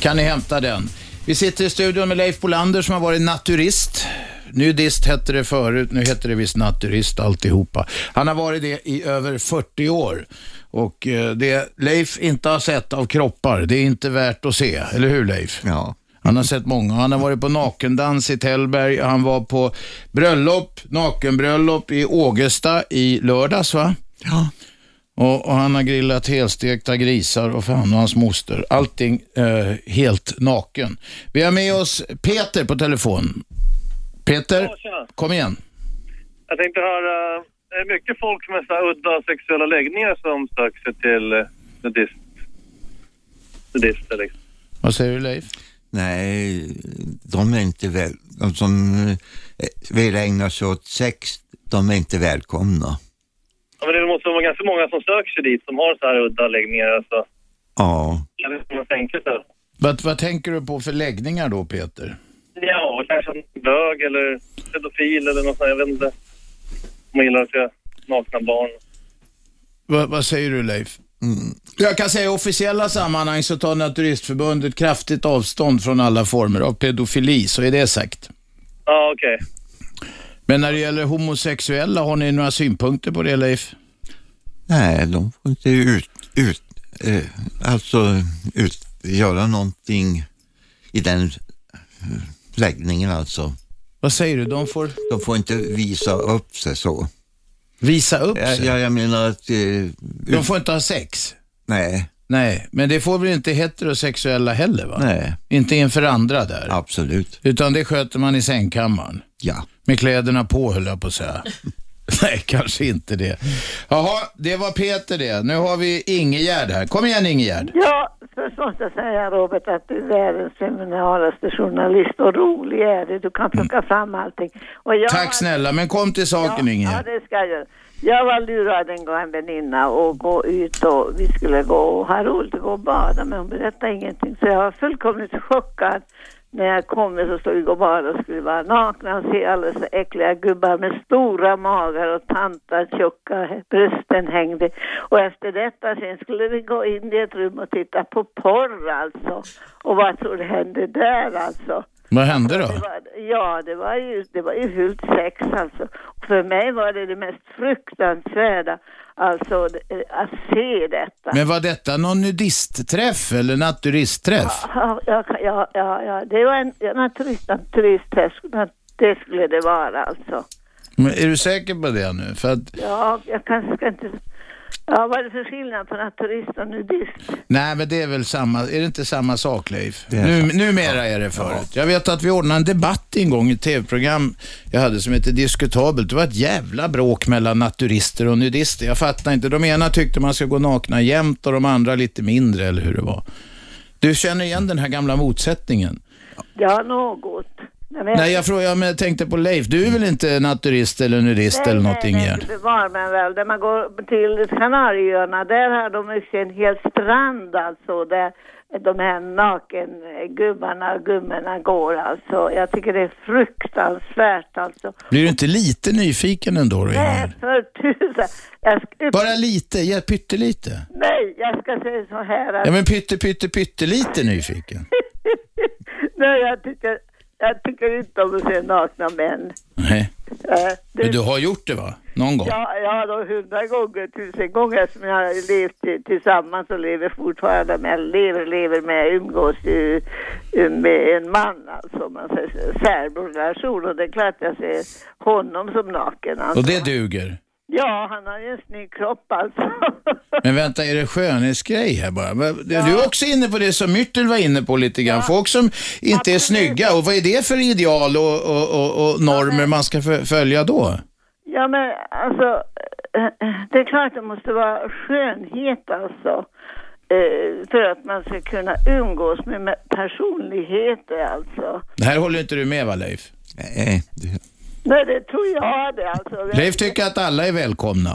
Kan ni hämta den. Vi sitter i studion med Leif Bolander som har varit naturist. Nudist hette det förut, nu heter det visst naturist alltihopa. Han har varit det i över 40 år. Och eh, det Leif inte har sett av kroppar, det är inte värt att se. Eller hur Leif?
Ja,
Han har sett många. Han har varit på nakendans i Tällberg. Han var på bröllop, nakenbröllop i Ågesta i lördags va?
ja,
Och, och han har grillat helstekta grisar och för han och hans moster. Allting eh, helt naken. Vi har med oss Peter på telefon. Peter,
Ja, tjena.
kom igen.
Jag tänkte höra, det är mycket folk med så här udda sexuella läggningar som söker sig till eh, nudist, nudister. Liksom.
Vad säger du Leif?
nej, de är inte väl, de som eh, vill ägna sig åt sex, de är inte välkomna.
Ja, men det måste vara ganska många som söker sig dit som har så här udda läggningar. Alltså.
Ja,
Jag vet inte hur man tänker sig.
Vad, vad tänker du på för läggningar då Peter?
Ja, kanske en bög eller pedofil eller något sånt. Jag vet inte. Om man gillar att se nakna barn.
Vad- vad säger du Leif?
mm,
Jag kan säga i officiella sammanhang så tar Naturistförbundet kraftigt avstånd från alla former av pedofili, så är det sagt.
Ja, okej.
Men när det gäller homosexuella, har ni några synpunkter på det Leif?
nej, de får inte ut, ut, eh, alltså ut, göra någonting i den eh, läggningen alltså.
Vad säger du? De får
De får inte visa upp sig så.
visa upp
Ja,
sig?
ja, jag menar att... Eh,
De
ut,
får inte ha sex?
nej,
Nej, men det får väl inte heterosexuella heller va?
nej,
Inte inför andra där?
absolut.
Utan det sköter man i sängkammaren?
Ja.
Med kläderna på höll jag på att säga. Nej, kanske inte det. Jaha, det var Peter det. Nu har vi Ingegärd här. Kom igen Ingegärd.
Ja, först måste jag säga Robert att du är världens feminalaste journalist och rolig är du. Du kan plocka fram allting. Och jag
Tack snälla, men kom till saken
ja,
Ingegerd.
ja, det ska jag göra. Jag var lurad en gång av en väninna och gå ut och vi skulle gå och ha roligt och gå och bada men hon berättade ingenting så jag var fullkomligt chockad. När jag kom så stod vi och badade och skulle vara nakna och se alldeles så äckliga gubbar med stora magar och tantar, tjocka brösten hängde. Och efter detta sen skulle vi gå in i ett rum och titta på porr alltså. Och vad tror du hände där alltså?
Vad hände då?
Det var, ja, det var, ju, det var ju fult sex alltså. För mig var det det mest fruktansvärda, alltså eh, att se detta.
Men var detta någon nudistträff eller naturistträff?
Ja, ja, ja, ja, ja, det var en, ja, naturist, naturist, det skulle det vara alltså.
Men är du säker på det nu? För att,
Ja, jag kanske ska inte... Ja, vad är det för skillnad på naturist och nudist?
nej men det är väl samma, är det inte samma sak Leif?
är
Nu, numera är det förut. Jag vet att vi ordnade en debatt en gång i ett tv-program jag hade som hette Diskutabelt. Det var ett jävla bråk mellan naturister och nudister. Jag fattar inte. De ena tyckte man ska gå nakna jämt och de andra lite mindre eller hur det var. Du känner igen den här gamla motsättningen?
Ja, något. Nej, men-
Nej, jag, frågar, jag men- tänkte på Leif. Du är väl inte naturist eller nudist eller någonting?
Nej,
Gerd?
nej, bevara mig väl. Där man går till Kanarieöarna, där har de ju sin hel strand alltså, där de här nakengubbarna och gummorna går alltså. Jag tycker det är fruktansvärt alltså.
Blir du inte lite nyfiken ändå? Då, Ingmar?
Nej, för tusan. Jag ska,
Bara lite, ja, pyttelite.
nej, jag ska säga så här att,
Ja, men pytte, pytte, pyttelite nyfiken.
nej, jag tycker, jag tycker inte om att se nakna män.
Nej.
Eh, det-
Men du har gjort det va? Någon gång?
Ja, ja då hundra gånger, tusen gånger som jag har levt i- tillsammans och lever fortfarande med, lever, lever med, umgås ju, eh, med en man alltså, man säger särbrorrelation och det är klart jag ser honom som naken alltså.
Och det duger.
Ja, han har ju en snygg kropp alltså.
Men vänta, är det skönhetsgrej här bara? Men Du är också inne på det som Myrtle var inne på lite grann. Folk som inte är snygga, och vad är det för ideal och, och, och, och normer man ska fö- följa då?
Ja men alltså, eh, eh, det är klart det måste vara skönhet alltså. eh, För att man ska kunna umgås med med personligheter alltså.
Det här håller inte du med va Leif?
Nej.
Nej, det tror jag det alltså.
Leif tycker att alla är välkomna.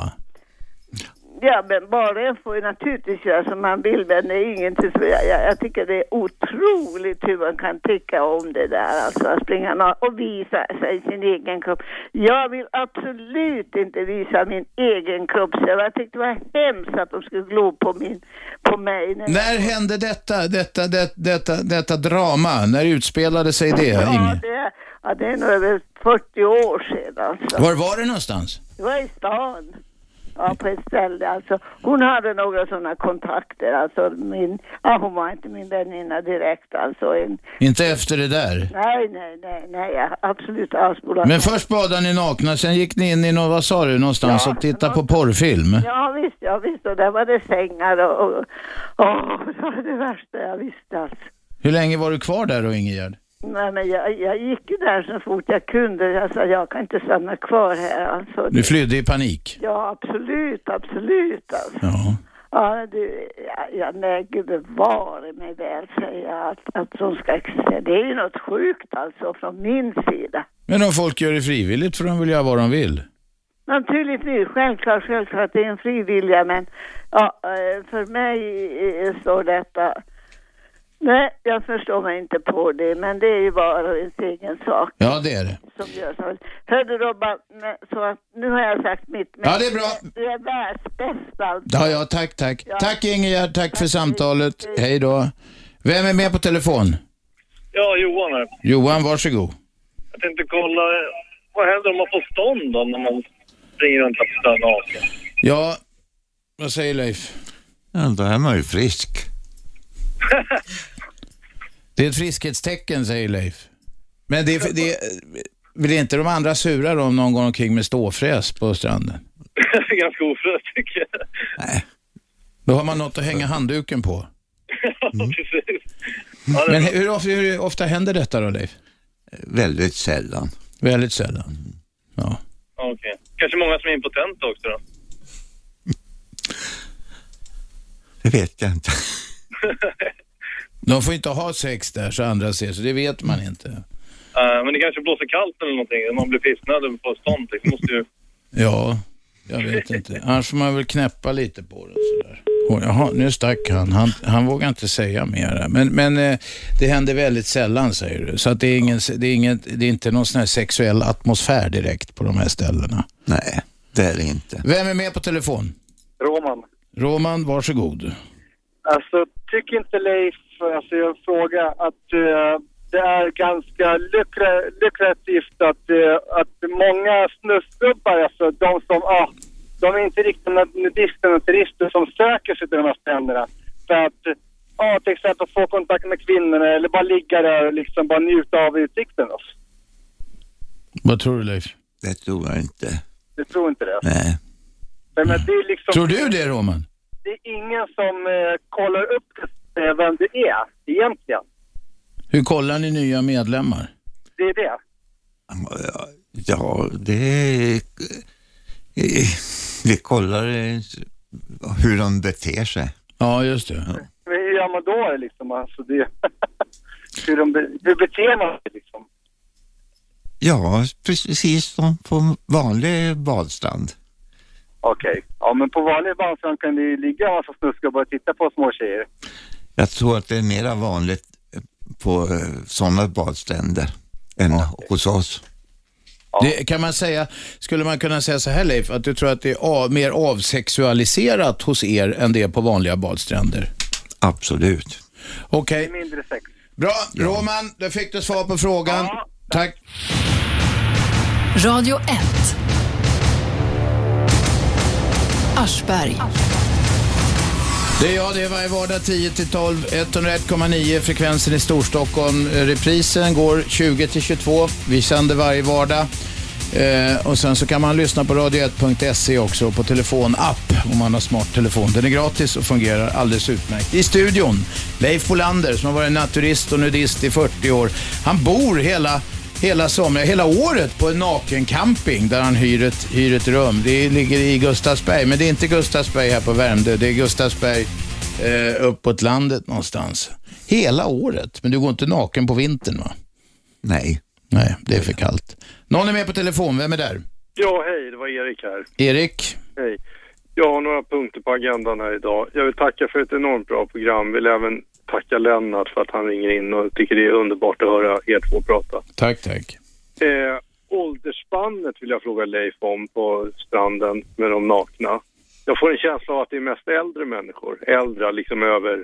Ja, men bara en får ju naturligtvis göra som man vill, men det är ingenting som jag, jag, jag tycker det är otroligt hur man kan tycka om det där, alltså att springa na- och visa sig sin egen kropp. Jag vill absolut inte visa min egen kropp, så jag tyckte det var hemskt att de skulle glo på, min, på mig. När
När hände detta, detta, det, detta, detta drama? När utspelade sig det,
ja,
Inge?
det, ja, det är nog över 40 år sedan. Alltså.
Var var det någonstans?
Det var i stan. Ja, på ett ställe alltså. Hon hade några sådana kontakter alltså. Min, ja, hon var inte min väninna direkt alltså. En,
Inte efter det där?
nej, nej, nej, nej, jag- absolut avspolad.
Men först badade ni nakna, sen gick ni in i någon, vad sa du, någonstans och tittade på porrfilm?
Ja, visst, ja, visst. Och där var det sängar och... och åh, det var det värsta jag visste alltså.
Hur länge var du kvar där då, Ingegerd?
Nej, men jag, jag gick ju där så fort jag kunde. Jag sa, jag kan inte stanna kvar här alltså.
Du flydde i panik?
Ja, absolut, absolut alltså.
Ja.
Ja, du, ja, ja, nej, gud bevare mig väl, säger jag, att, att de ska existera. Det är ju något sjukt alltså från min sida.
Men om folk gör det frivilligt för de vill göra vad de vill.
Naturligtvis, självklart, självklart, det är en frivilliga, men ja, eh, för mig eh, står detta... Nej, jag förstår mig inte på det, men det är ju bara ens egen sak
Ja, det är det.
som görs. av- Hördu Robban, nej, så att nu har jag sagt mitt. Men
Ja, det är bra.
Du är världsbäst alltså.
Ja, ja, tack, tack.
Ja.
Tack Ingegerd, tack, för samtalet. Hej då. Vem är med på telefon?
Ja, Johan här.
Johan, varsågod.
Jag tänkte kolla, eh, vad händer om man får stånd då när man springer runt och står naken?
Ja, vad säger Leif?
Ja, då är man ju frisk.
Det är ett friskhetstecken, säger Leif. Men det, det blir inte de andra sura då om någon går omkring med ståfräs på stranden?
Ganska ofräscht tycker jag.
Då har man något att hänga handduken på.
Ja, precis.
Men hur ofta, hur ofta händer detta då, Leif?
Väldigt sällan.
Väldigt sällan.
Ja, Okej. Kanske många som är impotenta också då?
Det vet jag inte.
De får inte ha sex där så andra ser, så det vet man inte.
Eh, men det kanske blåser kallt eller någonting. Man blir pissnödig på stånd. Liksom. Måste ju...
Ja, jag vet inte. Annars får man väl knäppa lite på det och sådär. Oj, Jaha, nu stack han. Han, han vågar inte säga mer. där. Men, men eh, det händer väldigt sällan, säger du. Så att det, är ingen, det, är ingen, det är inte någon sån här sexuell atmosfär direkt på de här ställena.
Nej, det är det inte.
Vem är med på telefon?
Roman.
Roman, varsågod.
Alltså, tycker inte Leif, alltså jag frågar, att eh, det är ganska lukra, lukrativt att, eh, att många snusgubbar, alltså de som, ah, de är inte riktigt nudister och turister som söker sig till de här stränderna. För att, ja, till exempel få kontakt med kvinnorna eller bara ligga där och liksom bara njuta av utsikten. Alltså.
Vad tror du, Leif?
Det tror jag inte.
Jag tror inte det.
Nej.
Men, men det är liksom...
Tror du det, Roman?
Det är ingen som eh, kollar upp eh, vem du är egentligen.
Hur kollar ni nya medlemmar?
Det är det.
Ja, det är... eh, Vi kollar eh, hur de beter sig.
Ja, just det.
Men Jag gammal då är liksom. Alltså det, hur, de, be- hur beter man sig liksom.
Ja, precis som på vanlig badstrand.
Okej. Ja, men på vanlig barnstrand kan det ju ligga en massa snuskgubbar och titta på små tjejer.
Jag tror att det är mera vanligt på sådana badstränder än hos oss.
Det, kan man säga, skulle man kunna säga så här Leif, att du tror att det är av, mer avsexualiserat hos er än det är på vanliga badstränder?
Absolut.
Okej,
Mindre sex.
bra. Roman, där fick du svar på frågan. tack.
Radio 1. Aschberg.
Det är jag, det är varje vardag 10 till 12, 101,9 frekvensen i Storstockholm. Eh, Reprisen går 20 till 22. Vi sänder varje vardag. Eh, och sen så kan man lyssna på radio1.se också och på telefonapp om man har smart telefon. Den är gratis och fungerar alldeles utmärkt. I studion, Leif Bolander som har varit naturist och nudist i 40 år. Han bor hela Hela somrarna, hela året på en nakencamping där han hyr ett, hyr ett rum. Det ligger i Gustavsberg, men det är inte Gustavsberg här på Värmdö. Det är Gustavsberg eh, uppåt landet någonstans. Hela året, men du går inte naken på vintern va?
Nej.
Nej, det är för kallt. Någon är med på telefon, vem är där?
Ja, hej, det var Erik här.
Erik?
Hej. Jag har några punkter på agendan här idag. Jag vill tacka för ett enormt bra program. Vill även tacka Lennart för att han ringer in och tycker det är underbart att höra er två prata.
Tack, tack.
Eh, åldersspannet vill jag fråga Leif om på stranden med de nakna. Jag får en känsla av att det är mest äldre människor. Äldre, liksom över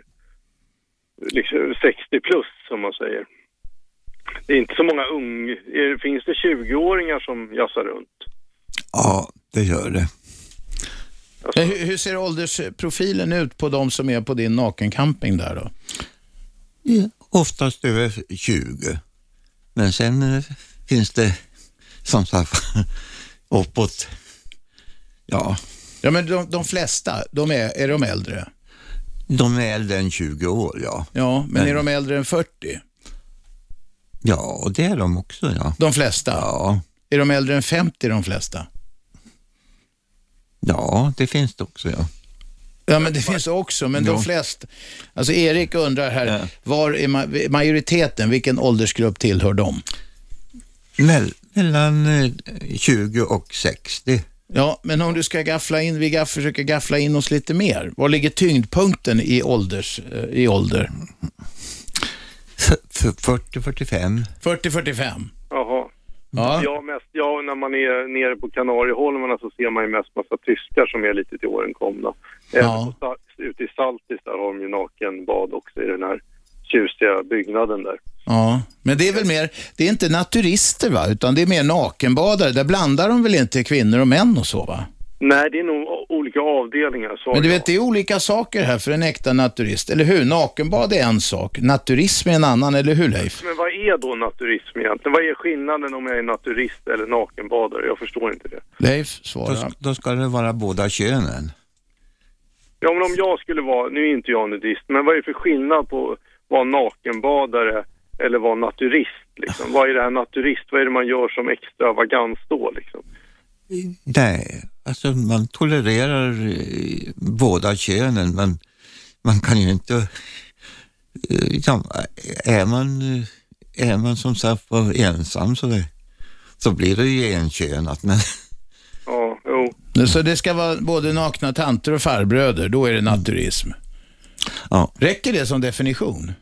liksom 60 plus som man säger. Det är inte så många ung... är- Finns det 20-åringar som jassar runt?
Ja, det gör det.
Eh, Hur, hur ser åldersprofilen ut på de som är på din nakencamping där då?
Oftast över 20. Men sen eh, finns det som sagt uppåt, ja,
Ja, men de, de flesta, de är, är de äldre?
de är äldre än 20 år, ja.
Ja, men
Men-
är de äldre än 40?
Ja, och det är de också, ja.
De flesta?
Ja.
Är de äldre än 50 de flesta?
Ja, det finns det också, ja.
Ja, men det finns också, men de
Ja.
flesta... Alltså Erik undrar här, var är ma- majoriteten, vilken åldersgrupp tillhör de?
Mell- mellan eh, 20 och 60.
Ja, men om du ska gaffla in, vi gaff, försöker gaffla in oss lite mer. Var ligger tyngdpunkten i, ålders, eh, i ålder?
F- 40-45.
40-45.
Jaha.
Ja.
Jag mest, ja, när man är nere på Kanarieholmarna så ser man ju mest massa tyskar som är lite till åren komna. Även
Ja.
på, Sa- ute i Saltis där har de ju nakenbad också i den här tjusiga byggnaden där.
Ja, men det är väl mer, det är inte naturister va, utan det är mer nakenbadare. Där blandar de väl inte kvinnor och män och så va?
Nej, det är nog o- olika avdelningar. Så
Men du vet, det är olika saker här för en äkta naturist, eller hur? Nakenbad är en sak, naturism är en annan, eller hur Leif?
Men vad är då naturism egentligen? Vad är skillnaden om jag är naturist eller nakenbadare? Jag förstår inte det.
Leif,
Då, då ska det vara båda könen.
Ja, men om jag skulle vara, nu är inte jag nudist, men vad är det för skillnad på att vara nakenbadare eller vara naturist? Liksom? Vad är det här naturist? Vad är det man gör som extravagans då? Liksom?
Nej, alltså man tolererar eh, båda könen, men man kan ju inte... eh, Ja, är, man, eh, är man som sagt var ensam så, det, så blir det ju enkönat, men
Ja, jo.
Så det ska vara både nakna tanter och farbröder, då är det naturism.
Ja.
Räcker det som definition?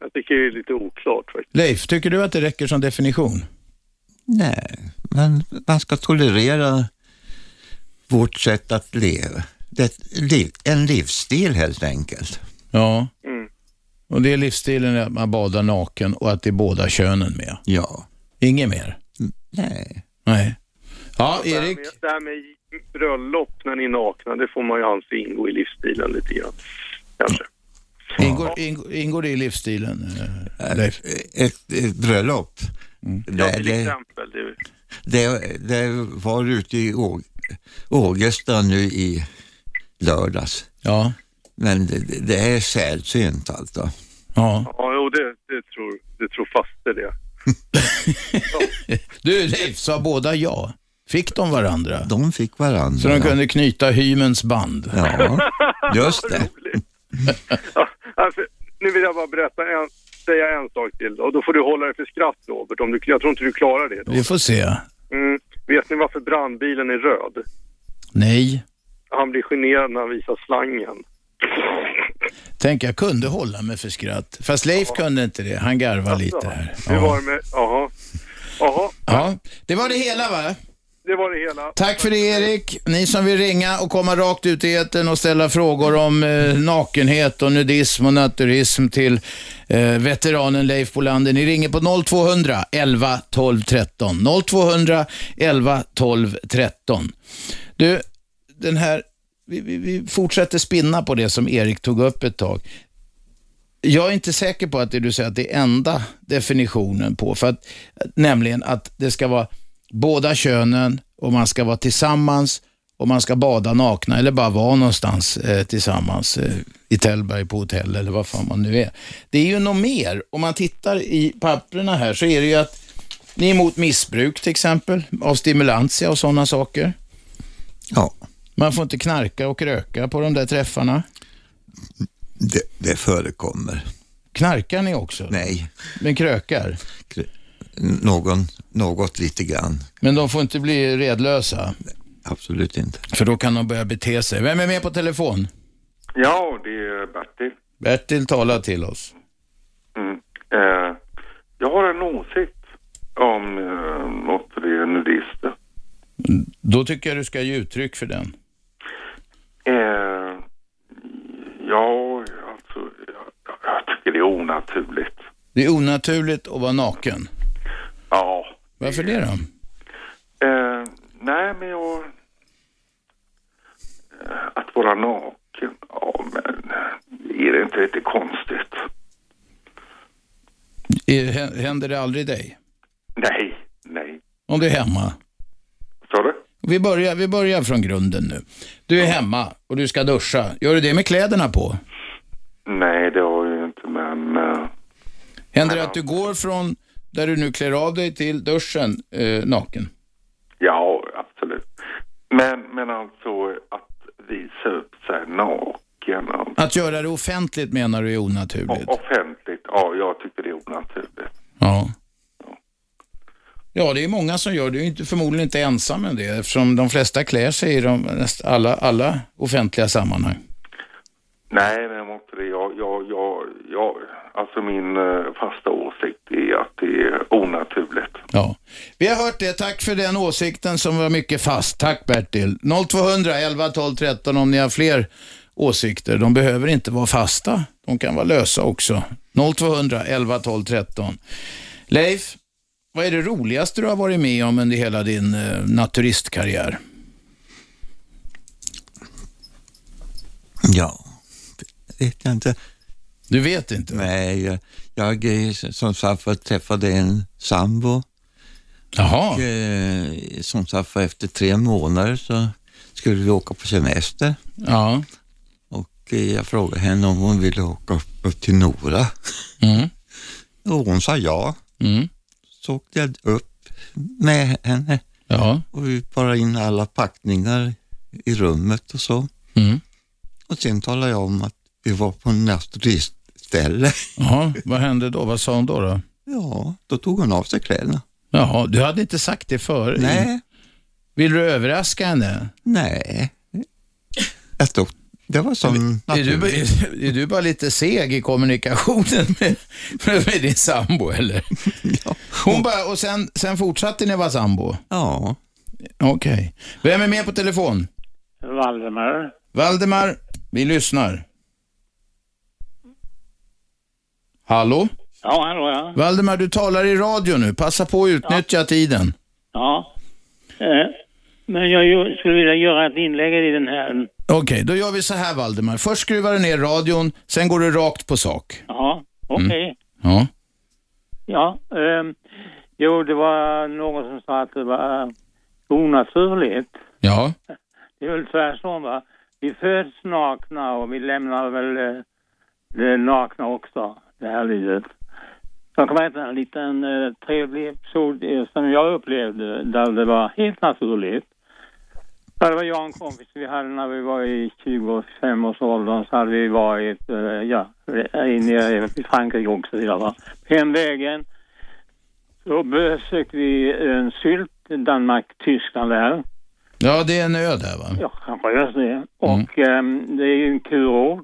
Jag tycker det är lite oklart faktiskt.
Leif, tycker du att det räcker som definition?
nej, man, man ska tolerera vårt sätt att leva. Det, är ett liv- en livsstil helt enkelt.
Ja.
Mm.
Och det är livsstilen att man badar naken och att det är båda könen med.
Ja.
Inget mer?
Nej.
Nej. Ja, Erik.
Det här med bröllop när ni är nakna, det får man ju anse ingå i livsstilen lite grann. Kanske.
Ingår, ingår, ingår det i livsstilen? eh, Leif?
Ett, ett bröllop.
Mm. Ja,
Det,
till
det,
exempel. Det,
det, det var ute i Å- Ågesta nu i lördags.
Ja.
Men det, det- det är sällsynt alltså.
Ja.
ja, jo, det, det tror, det tror faste det.
Du Leif, sa båda ja? Fick de varandra?
De fick varandra.
Så de kunde knyta hymens band?
Ja, just det.
Alltså, nu vill jag bara berätta en, säga en sak till och då får du hålla dig för skratt Robert. Om du, jag tror inte du klarar det.
Vi får se.
Mm. Vet ni varför brandbilen är röd?
Nej.
Han blir generad när han visar slangen.
Tänk, jag kunde hålla mig för skratt. Fast Leif kunde inte det. Han garvade lite här.
Alltså, Hur var det med... Jaha. Jaha.
Ja, det var det hela va?
Det var det hela.
Tack för det Erik. Ni som vill ringa och komma rakt ut i etern och ställa frågor om eh, nakenhet och nudism och naturism till eh, veteranen Leif Bolander. Ni ringer på 0200 11 12 13. 0200 11 12 13. Du, den här, vi, vi, vi fortsätter spinna på det som Erik tog upp ett tag. Jag är inte säker på att det du säger att det är enda definitionen på, för att, nämligen att det ska vara båda könen och man ska vara tillsammans och man ska bada nakna eller bara vara någonstans eh, tillsammans eh, i Tällberg på hotell eller vad fan man nu är. Det är ju något mer. Om man tittar i papperna här så är det ju att ni är emot missbruk till exempel av stimulantia och sådana saker.
Ja.
Man får inte knarka och röka på de där träffarna.
Det, det förekommer.
Knarkar ni också?
Nej.
Men krökar?
Någon, något lite grann.
Men de får inte bli redlösa?
Absolut inte.
För då kan de börja bete sig. Vem är med på telefon?
Ja, det är Bertil.
Bertil talar till oss.
Mm. Eh, jag har en åsikt om eh, något för det är nudister.
Då tycker jag du ska ge uttryck för den.
Eh, ja, alltså, jag, jag tycker det är onaturligt.
Det är onaturligt att vara naken.
Ja.
Varför det då?
Eh, nej, men jag... Eh, Att vara naken, ja men eh, är det inte lite konstigt?
I- hä- Händer det aldrig dig?
Nej, nej.
Om du är hemma?
Sa du?
Vi börjar, vi börjar från grunden nu. Du är hemma och du ska duscha. Gör du det med kläderna på?
Nej, det har jag ju inte, men... Eh,
Händer det att du går från där du nu klär av dig till duschen eh, naken?
ja, absolut. Men, men alltså att visa upp sig naken och
Att göra det offentligt menar du är onaturligt?
offentligt, ja, jag tycker det är onaturligt.
Ja. Ja, det är många som gör det. Du är inte, förmodligen inte ensam med det eftersom de flesta klär sig i de, näst- alla, alla offentliga sammanhang.
Nej, nej, jag måste det. Jag, jag, jag, jag, alltså min eh, fasta åsikt är att det är onaturligt.
Ja. Vi har hört det. Tack för den åsikten som var mycket fast. Tack Bertil. 0200 11 12 13 om ni har fler åsikter. De behöver inte vara fasta. De kan vara lösa också. 0200 11 12 13. Leif, vad är det roligaste du har varit med om under hela din eh, naturistkarriär?
Ja, vet jag inte.
Du vet inte?
Nej, jag, jag är som sagt var träffade en sambo.
Jaha.
Och, eh, som sagt var efter tre månader så skulle vi åka på semester.
Ja.
Och eh, jag frågade henne om hon ville åka upp, upp till Nora.
Mm.
Och hon sa ja.
Mm.
Så åkte jag upp med henne.
Ja.
Och vi parade in alla packningar i rummet och så.
Mm.
Och sen talade jag om att vi var på naturistställe.
Jaha, vad hände då? Vad sa hon då? då?
Ja, då tog hon av sig kläderna.
Jaha, du hade inte sagt det förr?
Nej.
Vill du överraska henne?
Nej. Jag tog, det var som
Är du, är, du bara lite seg i kommunikationen med, med din sambo eller? Hon bara, och sen, sen fortsatte ni vara sambo?
Ja.
Okej. Vem är med på telefon?
Valdemar.
Valdemar, vi lyssnar. Hallå?
Ja, hallå ja.
Valdemar, du talar i radio nu. Passa på att utnyttja tiden.
ja. Eh, Men jag ju- skulle vilja göra ett inlägg i den här.
Okej, då gör vi så här Valdemar. Först skruvar du ner radion, sen går du rakt på sak.
Ja, okej.
Ja.
Ja, ehm, jo, det var någon som sa att det var onaturligt.
Ja.
Det är väl tvärtom va? Vi föds nakna och vi lämnar väl eh, det nakna också, det här livet. Jag kan berätta en liten eh, trevlig episod eh, som jag upplevde där det var helt naturligt. Ja, det var jag och en kompis vi hade när vi var i 25-årsåldern så hade vi varit eh, ja, eh, inne i Frankrike också. i alla fall. Hemvägen så besökte vi en sylt, Danmark, Tyskland där.
Ja, det är en ö där va?
Ja, kanske jag säger. Och ehm, det är ju en kurort.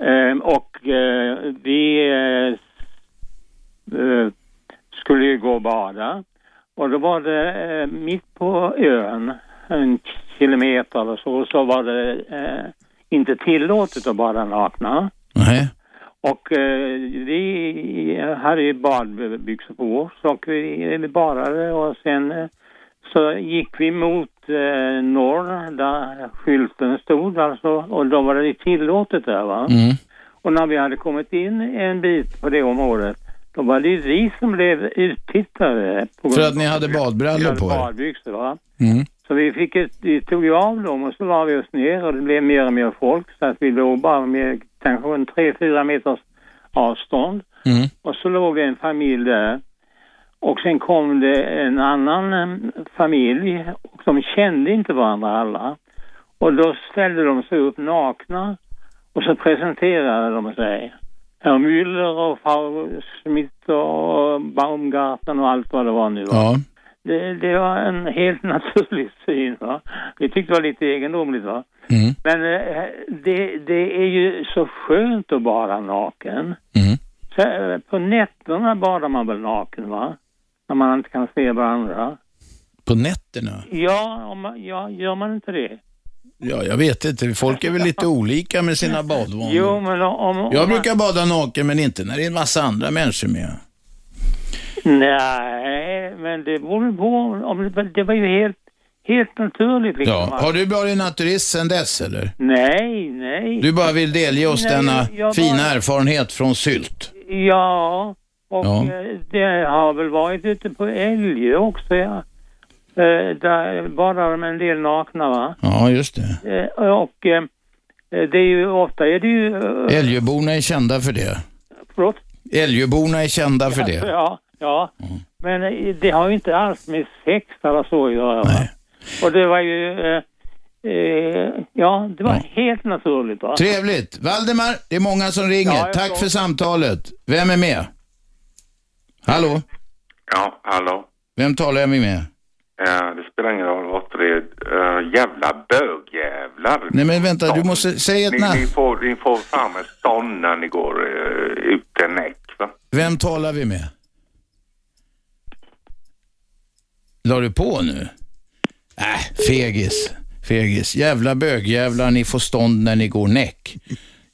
Ehm, och eh, vi eh, s- eh, skulle ju gå och bada. Och då var det eh, mitt på ön, en kilometer eller så, så var det eh, inte tillåtet att bada nakna.
Nej.
Och eh, vi hade ju badbyxor på oss och vi, vi badade och sen eh, så gick vi mot eh, norr där skylten stod alltså och då var det tillåtet där va.
Mm.
Och när vi hade kommit in en bit på det området då var det ju vi som blev uttittade. På
För att ni hade
Vi
badbrallor
hade
på er?
badbyxor va.
Mm.
Så vi, fick ett, vi tog ju av dem och så la vi oss ner och det blev mer och mer folk så att vi låg bara med kanske en tre fyra meters avstånd.
Mm.
Och så låg det en familj där. Och sen kom det en annan em, familj och de kände inte varandra alla. Och då ställde de sig upp nakna och så presenterade de sig. Herr Müller och Frau Schmidt och Baumgarten och allt vad det var nu. va.
Ja.
Det, det var en helt naturlig syn. Va? Vi tyckte det var lite egendomligt. Va?
Mm.
Men eh, det, det är ju så skönt att vara naken.
Mm.
Så, eh, på nätterna badar man väl naken va? När man inte kan se varandra.
På nätterna?
Ja, om man, ja gör man inte det?
Mm. Ja, jag vet inte. Folk är väl lite olika med sina badvanor.
Jo, men om... om
Jag brukar bada naken, men inte när det är en massa andra människor med.
Nej, men det beror på. Om, det var ju helt, helt naturligt. Liksom,
Ja.
va?
Har du varit naturist sedan dess, eller?
Nej, nej.
Du bara vill delge oss
Nej,
denna
jag
fina
bara-
erfarenhet från sylt.
Ja, och
Ja.
eh, det har väl varit ute på Älgö också. Ja. Eh, Där badar de en del nakna va?
Ja, just det.
Eh, Och eh, det är ju ofta är det ju... eh,
Älgöborna är kända för det.
Förlåt?
Älgöborna är kända för det. Mm.
Ja, ja. Men eh, det har ju inte alls med sex eller så att göra. Va? Och det var ju... eh, eh, Ja, det var helt naturligt va?
Trevligt. Valdemar, det är många som ringer.
Ja, jag
Tack
förstår.
för samtalet. Vem är med? Hallå?
Ja, hallå.
Vem talar jag med?
Eh, det spelar ingen roll vad det är. Eh, jävla bögjävlar.
Nej, men vänta, du måste säga ett
Ni, ni,
namn.
får, ni får fram en stånd när ni går uh, ut en näck, va?
Vem talar vi med? La du på nu? Äh, fegis. Fegis. Jävla bögjävlar, ni får stånd när ni går näck.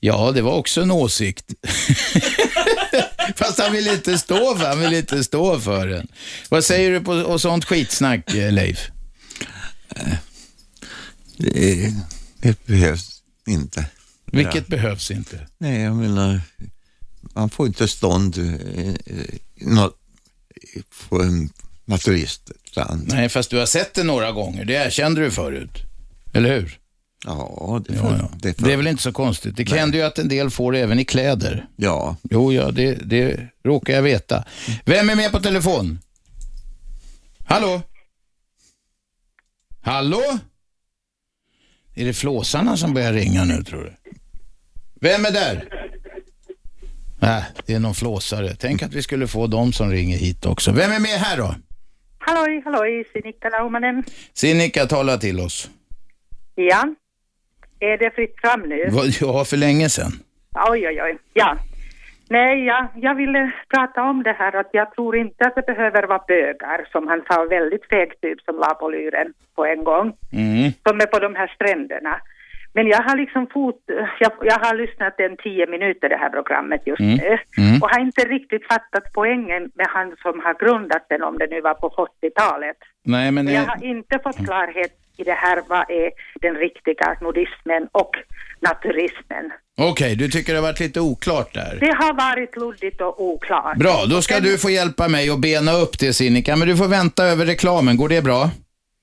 Ja, det var också en åsikt. Fast han vill inte stå för, han vill inte stå för den. Vad säger du på och sånt skitsnack, eh, Leif?
Det, det behövs inte.
Vilket
Ja.
behövs inte?
Nej, jag menar, man får inte stånd eh, eh, något på en naturiststrand.
Nej, fast du har sett det några gånger. Det erkände du förut. Eller hur?
Ja, det,
ja, ja.
det,
det är väl inte så konstigt. Det händer ju att en del får det även i kläder.
Ja.
Jo, ja, det, det råkar jag veta. Vem är med på telefon? Hallå? Hallå? Är det flåsarna som börjar ringa nu, tror du? Vem är där? Nej, det är någon flåsare. Tänk att vi skulle få dem som ringer hit också. Vem är med här då?
Halloj, halloj, Sinikka Laumanen.
Sinikka, tala till oss.
Ja, är det fritt fram nu?
Vad- Ja, för länge sedan.
Oj, oj, oj. Ja. Nej, ja, jag ville prata om det här att jag tror inte att det behöver vara bögar, som han sa, väldigt feg typ som la på luren på en gång,
Mm.
som är på de här stränderna. Men jag har liksom fot, jag, jag har lyssnat en tio minuter det här programmet just
Mm.
nu
Mm.
och har inte riktigt fattat poängen med han som har grundat den om det nu var på 40-talet.
Nej, men...
jag
eh,
har inte fått klarhet i det här, vad är den riktiga nordismen och naturismen.
Okej, du tycker det har varit lite oklart där.
Det har varit luddigt och oklart.
Bra, då ska du få hjälpa mig att bena upp det Sinikka, men du får vänta över reklamen. Går det bra?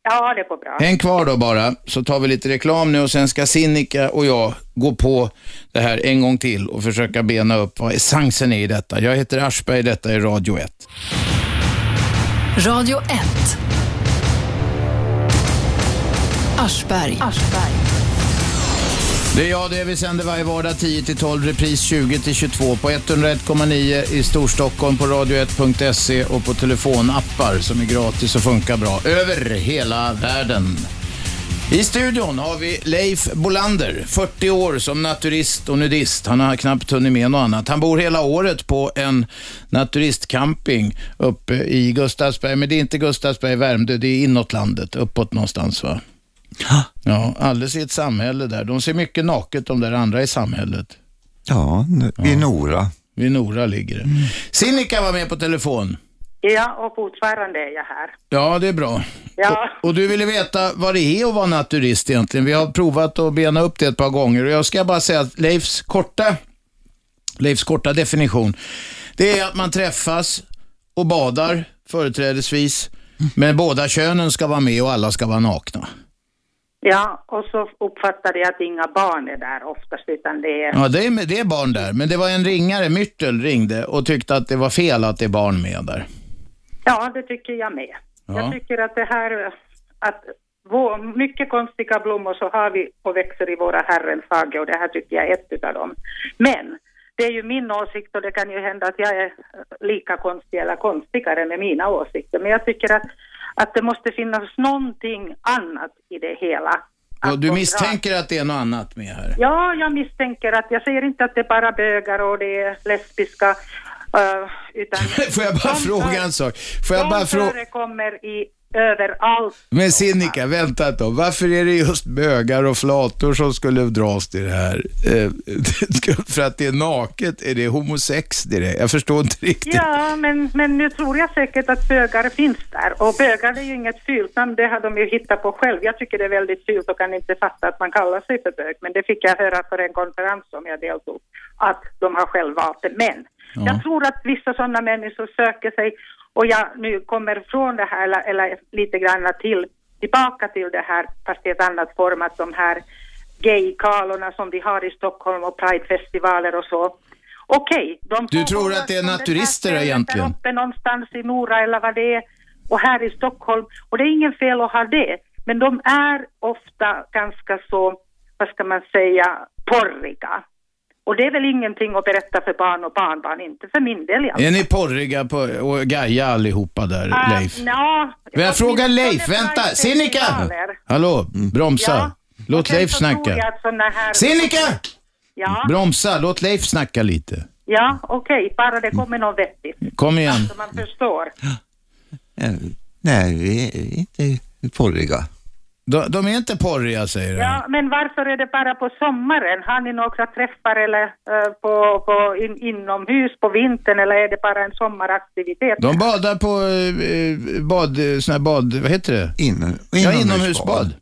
Ja, det går bra.
En kvar då bara, så tar vi lite reklam nu och sen ska Sinikka och jag gå på det här en gång till och försöka bena upp vad essensen är i detta. Jag heter Aschberg, detta är Radio 1.
Radio 1. Aschberg.
Det är jag det. Vi sänder varje vardag 10-12, repris 20-22 på 101,9 i Storstockholm, på radio1.se och på telefonappar som är gratis och funkar bra över hela världen. I studion har vi Leif Bolander, 40 år som naturist och nudist. Han har knappt hunnit med något annat. Han bor hela året på en naturistcamping uppe i Gustavsberg, men det är inte Gustavsberg, Värmdö, det är inåt landet, uppåt någonstans va? Ja, alldeles i ett samhälle där. De ser mycket naket de där andra i samhället.
Ja, nu- vid Nora.
Vid Nora ligger det. Sinikka var med på telefon.
Ja, och fortfarande är jag här.
Ja, det är bra.
Ja,
Och du ville veta vad det är att vara naturist egentligen. Vi har provat att bena upp det ett par gånger och jag ska bara säga att Leifs korta, Leifs korta definition, det är att man träffas och badar företrädesvis, men båda könen ska vara med och alla ska vara nakna.
ja och så uppfattade jag att inga barn är där oftast, utan det är...
Ja, det är, det är barn där, men det var en ringare, Myrtle, ringde och tyckte att det var fel att det är barn med där.
Ja, det tycker jag med. Jag
Ja.
tycker att det här, att vår, mycket konstiga blommor så har vi och växer i våra Herrens hage och det här tycker jag är ett utav dem. Men det är ju min åsikt och det kan ju hända att jag är lika konstig eller konstigare med mina åsikter. Men jag tycker att, att det måste finnas någonting annat i det hela.
Och du misstänker att det är något annat med här?
Ja, jag misstänker att, jag säger inte att det är bara bögar och det är lesbiska, eh, utan
Får jag bara fråga en sak? Får jag bara
de
fråga?
förekommer i överallt.
Men Sinikka, vänta ett tag. Varför är det just bögar och flator som skulle dras till det här? Eh, För att det är naket, är det homosex direkt? Jag förstår inte riktigt.
Ja, men, men nu tror jag säkert att bögar finns där. Och bögar är ju inget fult namn, det har de ju hittat på själv. Jag tycker det är väldigt fult och kan inte fatta att man kallar sig för bög. Men det fick jag höra på en konferens som jag deltog, att de har själv valt det. Men jag tror att vissa sådana människor söker sig, och jag nu kommer från det här, eller, eller lite grann till, tillbaka till det här, fast i ett annat form, att de här gaykalorna som de har i Stockholm och pridefestivaler och så. Okej, de
Du tror att det är naturister egentligen?
uppe någonstans i Nora eller vad det är och här i Stockholm. Och det är ingen fel att ha det, men de är ofta ganska så, vad ska man säga, porriga. Och det är väl ingenting att berätta för barn och barnbarn, inte för min del i alla
Är ni porriga på, och gaja allihopa där,
fall.
Leif?
Äh, nja,
Men jag frågar Leif, vänta! Sinikka! Hallå, bromsa.
Ja.
Låt Leif
tror jag
snacka.
att såna här...
Sinikka!
Ja,
Bromsa, låt Leif snacka lite.
ja okej, bara det kommer något vettigt.
Kom igen.
Så man förstår.
Eh, Nej, vi är inte porriga.
De, de är inte porriga säger du?
Ja, men varför är det bara på sommaren? Har ni några träffar eller eh, på, på in, inomhus på vintern eller är det bara en sommaraktivitet?
De badar på eh, bad, eh, sån här bad, vad heter det?
Inom,
ja, inomhusbad.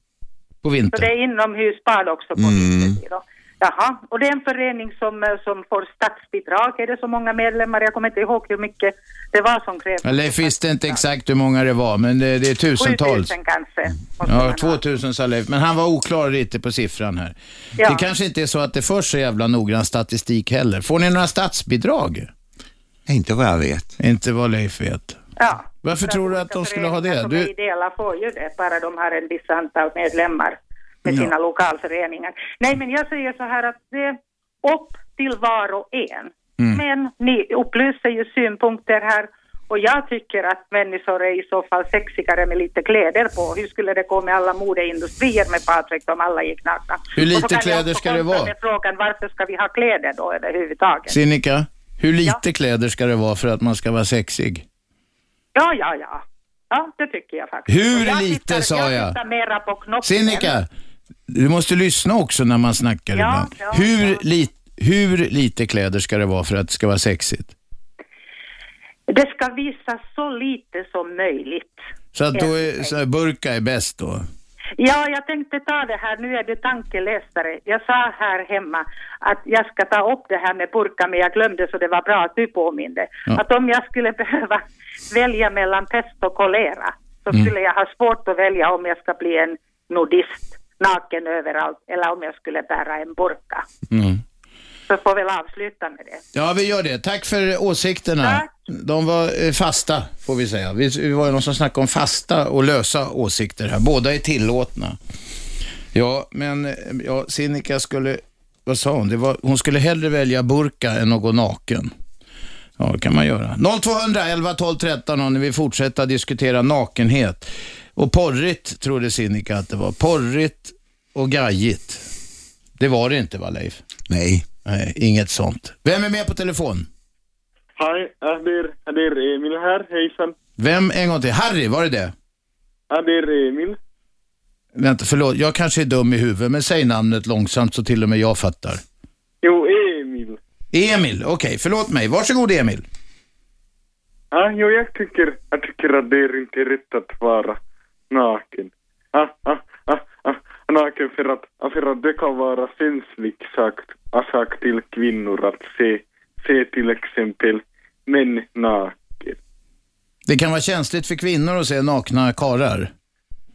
Så
På vintern.
det är inomhusbad också på
Mm.
vintern? då? Jaha, och det är en förening som, eh, som får statsbidrag. Är det så många medlemmar? Jag kommer inte ihåg hur mycket det var som krävdes.
Ja, Leif visste inte exakt hur många det var, men det, det är tusentals.
7000 kanske.
Ja, 2000 sa Leif, men han var oklar lite på siffran här.
Ja.
Det kanske inte är så att det förs så jävla noggrann statistik heller. Får ni några statsbidrag?
Inte vad jag vet.
Inte vad Leif vet.
Ja.
Varför tror du att de skulle ha det?
Du...
Du,
Ideella får ju det, bara de har en viss antal medlemmar med sina lokalföreningar. Nej, men jag säger så här att det är upp till var och en.
Mm.
Men ni upplyser ju synpunkter här och jag tycker att människor är i så fall sexigare med lite kläder på. Hur skulle det gå med alla modeindustrier med Patrik om alla gick nakna?
Hur
Och så
lite
kan jag
kläder
också
ska det
kontra
vara?
med frågan varför ska vi ha kläder då överhuvudtaget?
Sinikka, hur lite kläder ska det vara för att man ska vara sexig?
Ja, ja, ja. Ja, det tycker jag faktiskt.
Hur
Och jag
lite,
tittar,
sa jag?
tittar mera på knoppen.
Sinikka, du måste lyssna också när man snackar
Ja,
ibland.
ja,
hur, Li, hur lite kläder ska det vara för att det ska vara sexigt?
Det ska visas så lite som möjligt.
Så att då är, så här, burka är bäst då?
Ja, jag tänkte ta det här, nu är du tankeläsare. Jag sa här hemma att jag ska ta upp det här med burka, men jag glömde så det var bra att du påminde.
Ja.
Att om jag skulle behöva välja mellan pest och kolera så
Mm.
skulle jag ha svårt att välja om jag ska bli en nudist naken överallt eller om jag skulle bära en burka.
Mm.
Så får väl avsluta med det.
Ja, vi gör det. Tack för åsikterna. De var eh, fasta, får vi säga. Vi, vi var ju någon som snackade om fasta och lösa åsikter här. Båda är tillåtna. Ja, men eh, ja, Sinikka skulle, vad sa hon? Det var, hon skulle hellre välja burka än att gå naken. Ja, det kan man göra. 0200 11 12 13 om ni vill fortsätta diskutera nakenhet. Och porrigt trodde Sinikka att det var. Porrigt och gajigt. Det var det inte va Leif?
Nej.
Nej, inget sånt. Vem är med på telefon?
Hej, är det, är det Emil här? Hejsan.
Vem en gång till? Harry, var det det?
Är det Emil?
Vänta, förlåt. Jag kanske är dum i huvudet, men säg namnet långsamt så till och med jag fattar.
Jo, Emil.
Emil, okej. förlåt mig. Varsågod Emil.
Ja, Ah, jo, jag tycker, jag tycker att det är inte rätt att vara naken. Ah, ah, ah, ah, naken för att, ah, för att det kan vara känslig sak, ah, sak till kvinnor att se, se till exempel män naken.
Det kan vara känsligt för kvinnor att se nakna karar.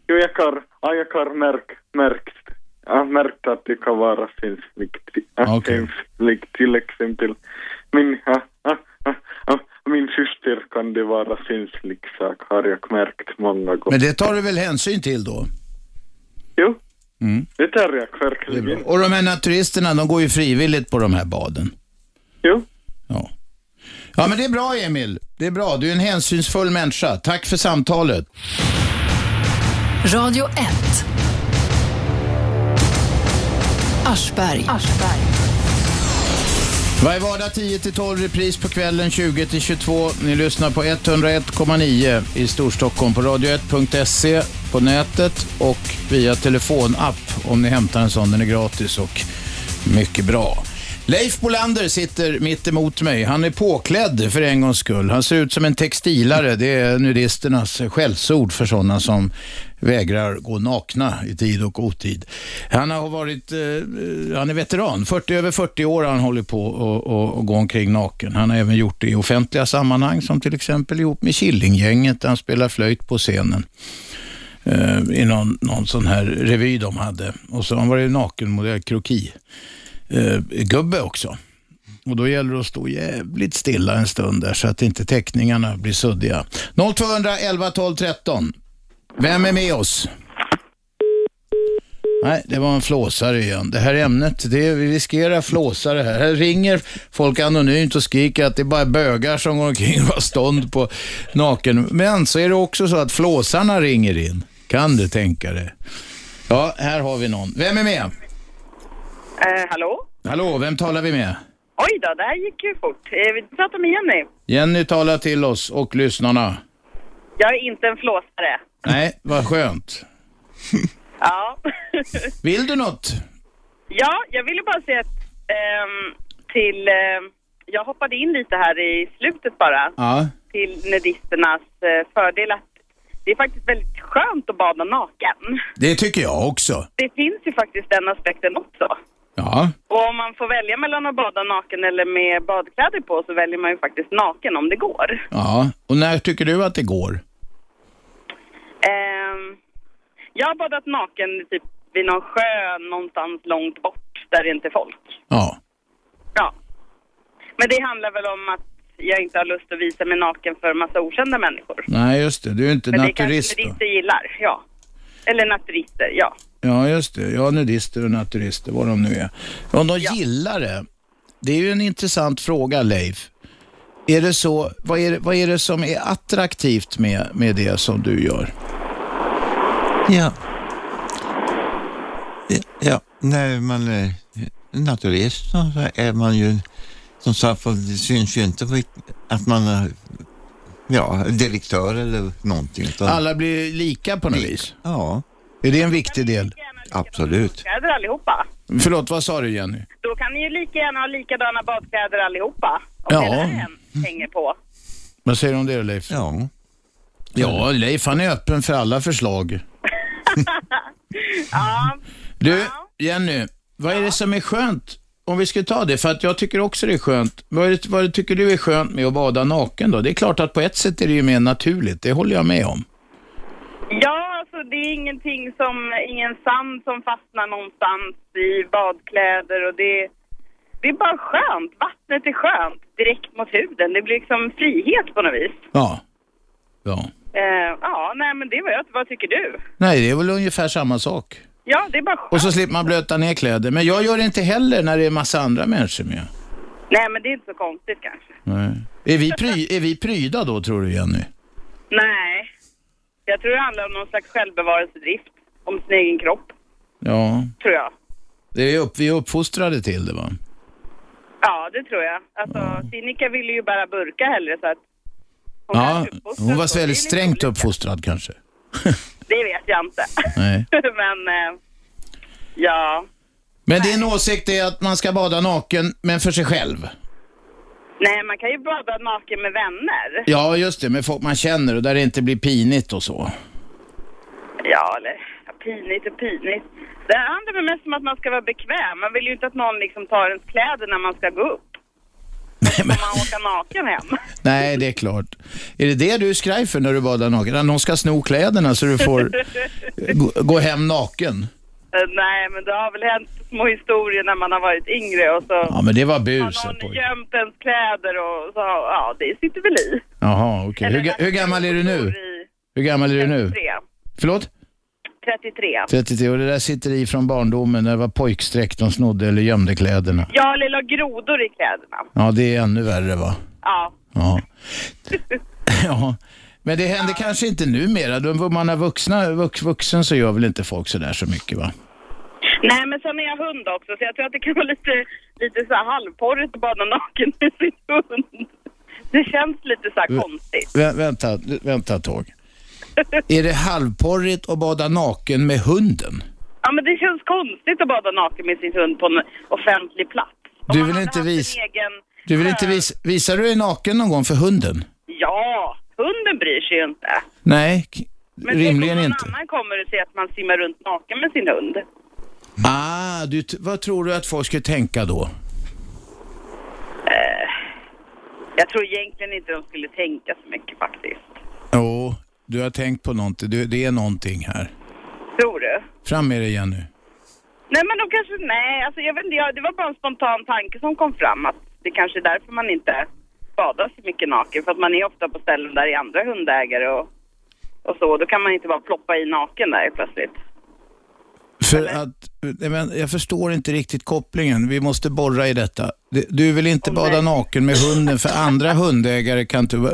Jo, jag har, ah, jag har märkt, märkt, ah, märkt att det kan vara känsligt. Ah, känsligt till exempel min, ah, ah, ah, ah, min syster kan det vara känslig sak har jag märkt många gånger.
Men det tar du väl hänsyn till då?
Jo.
Mm.
Det tar jag verkligen.
Och de här naturisterna, de går ju frivilligt på de här baden.
Jo.
Ja. Ja, men det är bra Emil. Det är bra. Du är en hänsynsfull människa. Tack för samtalet.
Radio 1. Aschberg. Aschberg.
Varje vardag 10-12, repris på kvällen 20-22. Ni lyssnar på 101,9 i Storstockholm på radio1.se på nätet och via telefonapp om ni hämtar en sån. Den är gratis och mycket bra. Leif Bolander sitter mitt emot mig. Han är påklädd för en gångs skull. Han ser ut som en textilare. Det är nudisternas skällsord för sådana som vägrar gå nakna i tid och otid. Han har varit, eh, han är veteran. 40, över 40 år har han hållit på och, och, och gå omkring naken. Han har även gjort det i offentliga sammanhang som till exempel ihop med Killinggänget där han spelar flöjt på scenen eh, i någon, någon sån här revy de hade. Och så har han varit nakenmodell, kroki, eh, gubbe också. Och då gäller det att stå jävligt stilla en stund där så att inte teckningarna blir suddiga. 0200 11 12 13. Vem är med oss? Nej, det var en flåsare igen. Det här ämnet, det, vi riskerar flåsare här. Här ringer folk anonymt och skriker att det är bara bögar som går omkring och har stånd på naken. Men så är det också så att flåsarna ringer in. Kan du tänka dig? Ja, här har vi någon. Vem är med?
Eh, hallå?
Hallå, vem talar vi med?
Oj då, det här gick ju fort. Eh, vi pratar med Jenny.
Jenny talar till oss och lyssnarna.
Jag är inte en flåsare.
Nej, vad skönt.
Ja.
Vill du något?
ja, jag ville bara säga att ehm, till... ehm, jag hoppade in lite här i slutet bara.
Ja.
Till nudisternas eh, fördel att det är faktiskt väldigt skönt att bada naken.
Det tycker jag också.
Det finns ju faktiskt den aspekten också.
Ja.
Och om man får välja mellan att bada naken eller med badkläder på så väljer man ju faktiskt naken om det går.
Ja, och när tycker du att det går?
Ehm, jag har badat naken typ vid någon sjö någonstans långt bort där det inte är folk.
Ja.
Ja. Men det handlar väl om att jag inte har lust att visa mig naken för en massa okända människor.
Nej, just det. Du är inte
Men det
naturist
kanske
då?
inte gillar, ja. Eller naturister, ja.
Ja, just det. Ja, nudister och naturister, vad de nu är. Om de gillar det, det är ju en intressant fråga, Leif. Är det så, vad, är det, vad är det som är attraktivt med, med det som du gör?
Ja. Ja, ja. när man är naturist så är man ju, som sagt för det syns ju inte rikt- att man är ja, direktör eller någonting. utan-
Alla blir lika på något vis?
Ja.
Är det en viktig del?
Absolut.
Kläder allihopa.
Förlåt, vad sa du Jenny?
Då kan ni ju lika gärna ha likadana badkläder allihopa.
Ja,
Hänger på.
vad säger du om det Leif?
Ja.
Ja, Leif han är öppen för alla förslag.
Ja,
Du, Jenny, vad är det som är skönt? Om vi skulle ta det, för att jag tycker också det är skönt. Vad, är det, vad tycker du är skönt med att bada naken då? Det är klart att på ett sätt är det ju mer naturligt, det håller jag med om.
Ja, alltså det är ingenting som, ingen sand som fastnar någonstans i badkläder och det, det är bara skönt. Vattnet är skönt direkt mot huden. Det blir liksom frihet på något vis.
Ja. ja.
Eh, ja, nej men det var jag. Vad tycker du?
Nej, det är väl ungefär samma sak.
Ja, det är bara skönt.
Och så slipper man blöta ner kläder. Men jag gör det inte heller när det är massa andra människor som gör.
Nej, men det är inte så konstigt kanske.
Nej. Är vi, pry, är vi pryda då, tror du, Jenny?
Nej. Jag tror det handlar om någon slags självbevarelsedrift. Om sin egen kropp,
Ja,
tror jag.
det är upp, vi är uppfostrade till det, va?
Ja, det tror jag. Alltså, Sinikka ville ju bara burka hellre så att
ja, hon var väldigt strängt uppfostrad kanske.
det vet jag inte.
Nej.
men, eh, ja.
Men din åsikt är att man ska bada naken, men för sig själv?
Nej, man kan ju bada naken med vänner.
Ja, just det, med folk man känner och där det inte blir pinigt och så.
Ja, eller ja, pinigt och pinigt. Det handlar väl mest om att man ska vara bekväm. Man vill ju inte att någon liksom tar ens kläder när man ska gå upp. Om man åker naken hem.
Nej, det är klart. Är det det du är skraj för när du badar naken? Att någon ska sno kläderna så du får gå, gå hem naken?
Eh, Nej, men det har väl hänt små historier när man har varit yngre och så
Ja, men det var buset.
har någon gömt ens kläder och så, ja, det sitter väl i.
Jaha, okej. Hur, ga- hur gammal är du nu? Hur gammal är du nu?
33.
Förlåt?
33.
33. Och det där sitter i från barndomen när det var pojkstreck de snodde eller gömde kläderna.
Jag har lilla grodor i kläderna.
Ja, det är ännu värre va?
Ja.
Ja. ja. Men det händer kanske inte numera. Då man är vuxna, vux, vuxen så gör väl inte folk sådär så mycket va?
Nej, men sen är jag hund också, så jag tror att det kan vara lite, lite så här halvporrigt att bada naken med sin hund. Det känns lite så här
Vä-
konstigt.
Vä vänta, vänta ett tag. Är det halvporrigt att bada naken med hunden?
Ja, men det känns konstigt att bada naken med sin hund på en offentlig plats.
Du vill inte, vis
Egen...
du vill inte vis visar du dig naken någon gång för hunden?
Ja, hunden bryr sig ju inte.
Nej, k-
Men tänk om
rimligen
någon
inte.
annan kommer och ser att man simmar runt naken med sin hund.
Ah, du, t- vad tror du att folk skulle tänka då?
Eh, jag tror egentligen inte de skulle tänka så mycket faktiskt.
Jo, du har tänkt på någonting. Du, det är någonting här.
Tror du?
Fram med dig igen nu.
Nej men de kanske, nej alltså jag vet inte, jag, det var bara en spontan tanke som kom fram att det kanske är därför man inte badar så mycket naken för att man är ofta på ställen där det är andra hundägare och, och så. Då kan man inte bara ploppa i naken där plötsligt.
För att, nej, men jag förstår inte riktigt kopplingen. Vi måste borra i detta. Du- Du vill inte bada naken med hunden för andra hundägare kan inte... Men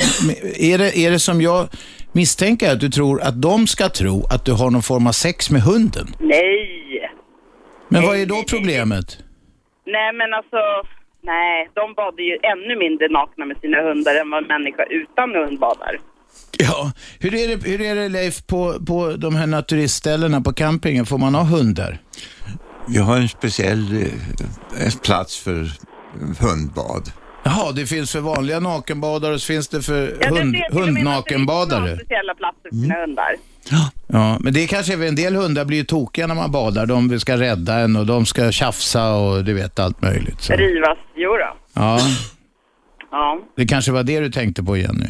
Är det, är det som jag misstänker att du tror att de ska tro att du har någon form av sex med hunden?
Nej!
Men vad är då problemet?
Nej men alltså, nej de badar ju ännu mindre nakna med sina hundar än vad en människa utan hund badar.
Ja, hur är det, hur är det Leif på, på de här naturistställena på campingen? Får man ha hundar?
Vi har en speciell eh, plats för hundbad.
Jaha, det finns för vanliga nakenbadare och så finns det för
Ja, det
hund,
ser till och med
hundnakenbadare. Mm.
Speciella platser för sina hundar.
Ja, men det kanske är en del hundar blir ju tokiga när man badar. De ska rädda en och de ska tjafsa och du vet allt möjligt. Så.
Rivas, jo då.
Ja,
Ja.
det kanske var det du tänkte på Jenny.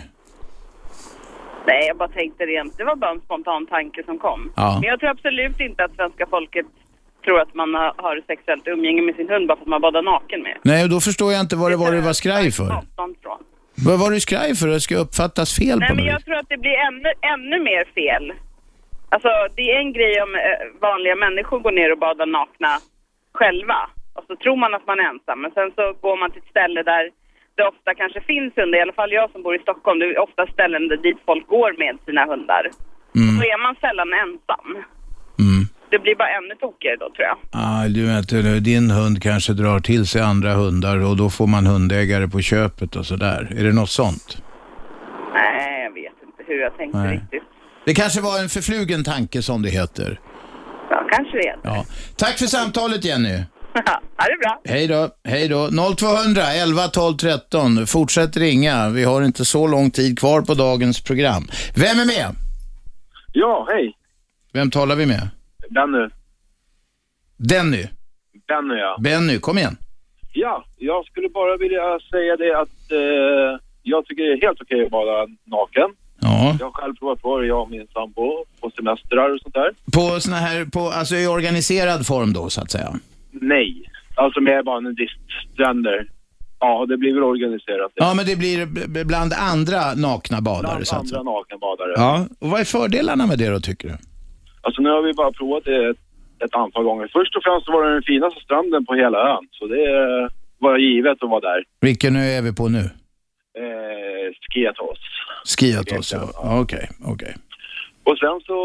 Nej, jag bara tänkte rent. Det var bara en spontan tanke som kom.
Ja.
Men jag tror absolut inte att svenska folket tror att man har- har sexuellt umgänge med sin hund bara för att man badar naken med.
Nej, och då förstår jag inte vad det var du var skraj för.
Sånt från.
Vad var du skraj för? Det ska uppfattas fel
Nej,
på
men
mig.
jag tror att det blir ännu, ännu mer fel. Alltså, det är en grej om eh, vanliga människor går ner och badar nakna själva. Och så tror man att man är ensam. Men sen så går man till ett ställe där det ofta kanske finns hundar. I alla fall jag som bor i Stockholm. Det är ofta ställen där dit folk går med sina hundar.
Mm.
Då är man sällan ensam. Det blir bara ännu tokigare då, tror jag.
Ah, du vet, eller din hund kanske drar till sig andra hundar och då får man hundägare på köpet och sådär. Är det något sånt?
Nej, jag vet inte hur jag tänkte
Nej.
riktigt.
Det kanske var en förflugen tanke som det heter.
Ja, kanske det.
Ja. Tack för samtalet Jenny.
ha det bra.
Hej då, hej då. 0200 11 12 13. Fortsätt ringa. Vi har inte så lång tid kvar på dagens program. Vem är med?
Ja, hej.
Vem talar vi med?
Benny.
Denny.
Benny, ja.
Benny, kom igen.
Ja, jag skulle bara vilja säga det att eh, jag tycker det är helt okej att vara naken.
Ja.
Jag har själv provat på det, jag och min sambo, på semestrar och sånt där.
På såna här, på, alltså i organiserad form då så att säga.
Nej, alltså mer bara nudiststränder. Ja, det blir väl organiserat.
Ja, men det blir b- b- bland andra nakna badare
Bland
så att
andra
säga.
nakenbadare.
Ja, och vad är fördelarna med det då tycker du?
Alltså nu har vi bara provat det ett, ett antal gånger. Först och främst så var det den finaste stranden på hela ön, så det eh, var givet att vara där.
Vilken ö är vi på nu?
Eh, Skiatos.
Skiatos, ja. Ja, Okej, okej.
Och sen så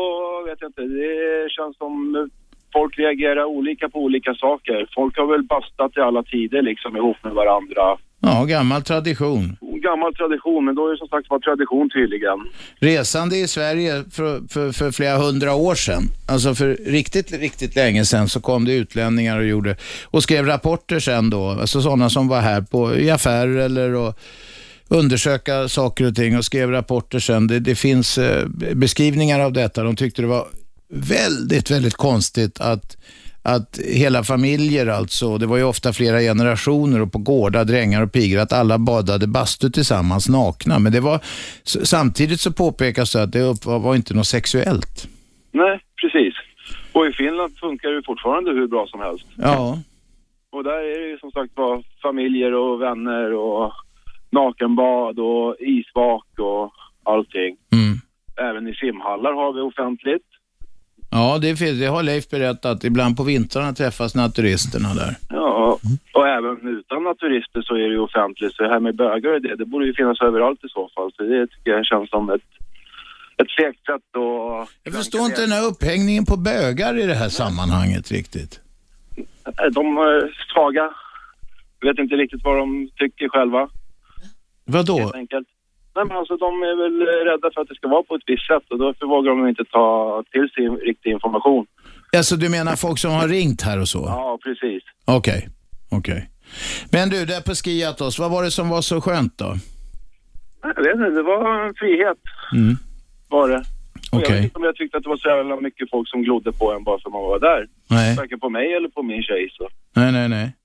vet jag inte, det känns som eh, folk reagerar olika på olika saker. Folk har väl bastat i alla tider liksom ihop med varandra.
Ja, gammal tradition.
Gammal tradition, men då är det som sagt var tradition tydligen.
Resande i Sverige för, för, för flera hundra år sedan, alltså för riktigt, riktigt länge sedan, så kom det utlänningar och gjorde, och skrev rapporter sen då, alltså sådana som var här på, i affärer eller och undersöka saker och ting och skrev rapporter sen. Det, det finns eh, beskrivningar av detta. De tyckte det var väldigt, väldigt konstigt att att hela familjer alltså, det var ju ofta flera generationer och på gårdar, drängar och pigor, att alla badade bastu tillsammans nakna. Men det var, s- samtidigt så påpekas det att det upp- var inte något sexuellt.
Nej, precis. Och i Finland funkar det ju fortfarande hur bra som helst.
Ja,
Och där är det ju som sagt var familjer och vänner och nakenbad och isvak och allting. Även i simhallar har vi offentligt.
ja det, finns, det har Leif berättat. Ibland på vintrarna träffas naturisterna där.
Ja, och även utan naturister så är det ju offentligt. Så det här med bögar och det, det borde ju finnas överallt i så fall. Så det tycker jag känns som ett, ett fegt sätt att...
Jag förstår inte den här upphängningen på bögar i det här sammanhanget riktigt.
De är svaga. Vet inte riktigt vad de tycker själva.
Vadå?
helt enkelt. Nej, men alltså, de är väl rädda för att det ska vara på ett visst sätt och därför vågar de inte ta till sig riktig information.
Alltså du menar folk som har ringt här och så?
Ja, precis.
Okej, okej. Men du, där på Skiatos, vad var det som var så skönt då?
Jag vet inte, det var en frihet
Mm.
var det. Och Jag
Okej.
vet inte om jag tyckte att det var så jävla mycket folk som glodde på en bara för man var där.
Nej.
Varken på mig eller på min tjej. Så.
Nej, nej, nej.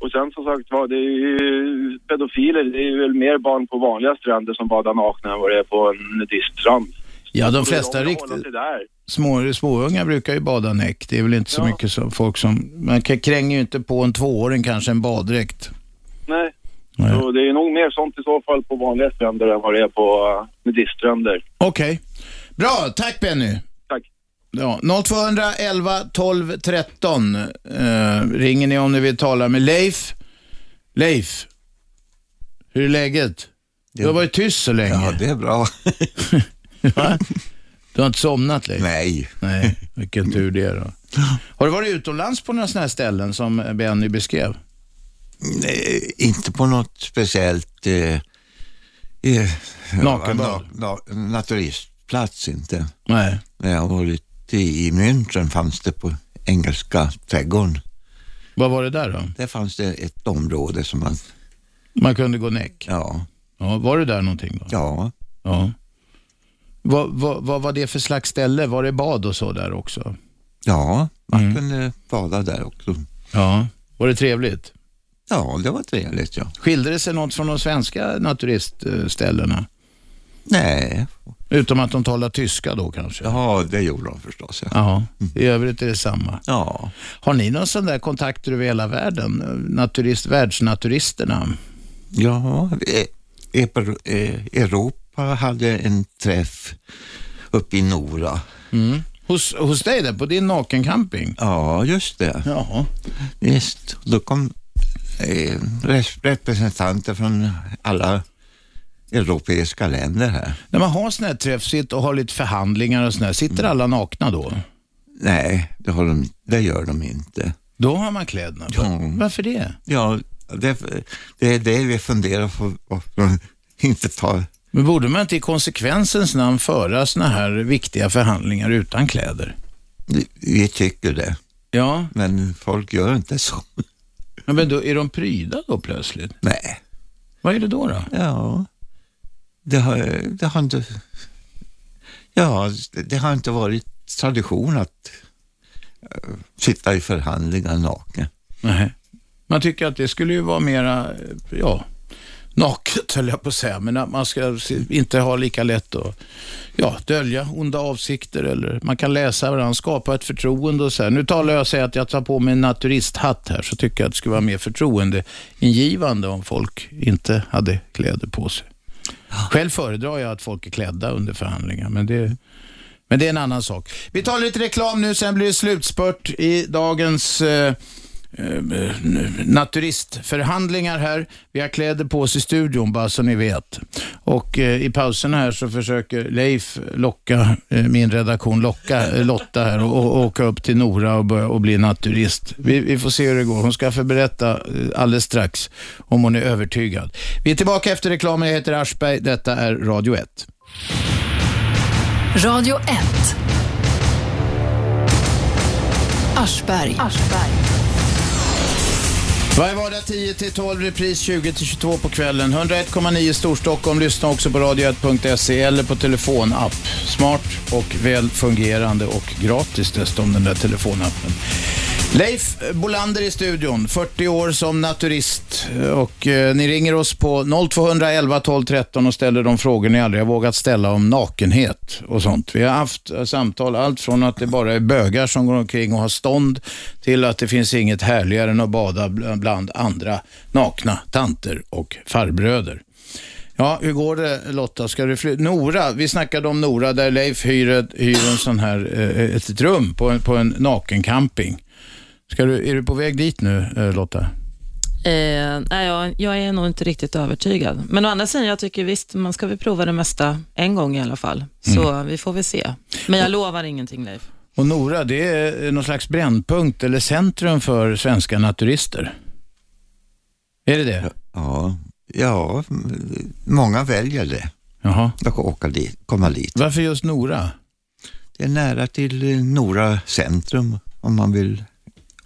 Och sen som sagt var, det är ju pedofiler, det är väl mer barn på vanliga stränder som badar nakna än vad det är på en nudiststrand.
Ja, de
Så
flesta
håller
riktigt
sig där.
små, småungar brukar ju bada näck. Det är väl inte så mycket så, folk som... Man k- kränger ju inte på en tvååring kanske en baddräkt.
Nej. Så det är nog mer sånt i så fall på vanliga stränder än vad det är på eh, nudiststränder.
Okej. Bra, tack Benny.
Tack.
Ja, 0211 12 13 eh, ringer ni om ni vill tala med Leif. Leif, hur är läget? Du har varit tyst så länge. Ja,
det är bra.
Va? Du har inte somnat Leif?
Nej.
Nej, vilken tur det då. Har du varit utomlands på några sådana här ställen som Benny beskrev?
Nej, inte på något speciellt... Eh, eh,
Nakenbad?
na- na- Naturistplats inte.
Nej.
När jag var lite i München fanns det på Engelska trädgården.
Vad var det där då?
Där fanns det ett område som man...
Man kunde gå näck?
Ja.
ja. Var du där någonting då?
Ja.
Ja. Vad, vad, vad var det för slags ställe? Var det bad och så där också?
Ja, man
Mm.
kunde bada där också.
Ja. Var det trevligt?
Ja, det var trevligt ja.
Skilde det sig något från de svenska naturistställena?
Nej.
Utom att de talar tyska då kanske?
Ja, det gjorde de förstås. Ja.
Ja, i övrigt är det samma.
Ja.
Har ni någon sån där kontakter över hela världen? Naturist, världsnaturisterna?
Ja, e- Eper- eh, Europa hade en träff uppe i Nora.
Mm. Hos, hos dig där, på din nakencamping?
Ja, just det.
Ja.
Visst, då kom eh, res- representanter från alla europeiska länder här.
När man har sån här träffsitt och har lite förhandlingar och sån här, sitter
Mm.
alla nakna då?
Nej, det, har de, det gör de inte.
Då har man kläderna på. Varför det?
Ja, det, det är det vi funderar på, varför de inte tar
Men borde man inte i konsekvensens namn föra såna här viktiga förhandlingar utan kläder?
Vi tycker det.
Ja.
Men folk gör inte så.
Ja, Men då är de pryda då plötsligt?
Nej.
Vad är det då? då?
Ja, det har, det har inte... Ja, det- det har inte varit tradition att eh, sitta i förhandlingar naken.
Nej. Man tycker att det skulle ju vara mera, ja, naket höll jag på att säga, men att man ska se- inte ha lika lätt att ja, dölja onda avsikter eller man kan läsa varandra, skapa ett förtroende och så här. Nu talar jag och säger att jag tar på mig en naturisthatt här, så tycker jag att det skulle vara mer förtroendeingivande om folk inte hade kläder på sig. Själv föredrar jag att folk är klädda under förhandlingar, men det Men det är en annan sak. Vi tar lite reklam nu, sen blir det slutspurt i dagens eh, eh, naturistförhandlingar här. Vi har kläder på oss i studion, bara så ni vet. Och eh, i pauserna här så försöker Leif locka, eh, min redaktion, locka eh, Lotta här och, och åka upp till Nora och, börja, och bli naturist. Vi, vi får se hur det går. Hon ska få berätta eh, alldeles strax om hon är övertygad. Vi är tillbaka efter reklamen. Jag heter Aschberg. Detta är Radio 1.
Radio 1. Aschberg.
Varje vardag 10-12, repris 20-22 på kvällen. 101,9 Storstockholm. Lyssna också på radio1.se eller på telefonapp. Smart och väl fungerande och gratis dessutom den där telefonappen. Leif Bolander i studion, 40 år som naturist. Och eh, ni ringer oss på 0211 12 13 och ställer de frågor ni aldrig har vågat ställa om nakenhet och sånt. Vi har haft eh, samtal allt från att det bara är bögar som går omkring och har stånd till att det finns inget härligare än att bada bl- bland andra nakna tanter och farbröder. Ja, hur går det Lotta? Ska du fly- Nora, vi snackade om Nora där Leif hyr, ett- hyr en sån här, eh, ett, ett rum på en, på en nakencamping. Ska du, är du på väg dit nu eh, Lotta?
Eh, nej, jag, jag är nog inte riktigt övertygad. Men å andra sidan, jag tycker visst, man ska väl prova det mesta en gång i alla fall. Så
Mm.
vi får väl se. Men jag lovar ingenting, Leif.
Och Nora, det är eh, någon slags brännpunkt eller centrum för svenska naturister. Är det det?
Ja, ja många väljer det.
Jaha.
Att åka dit, komma dit.
Varför just Nora?
Det är nära till eh, Nora centrum om man vill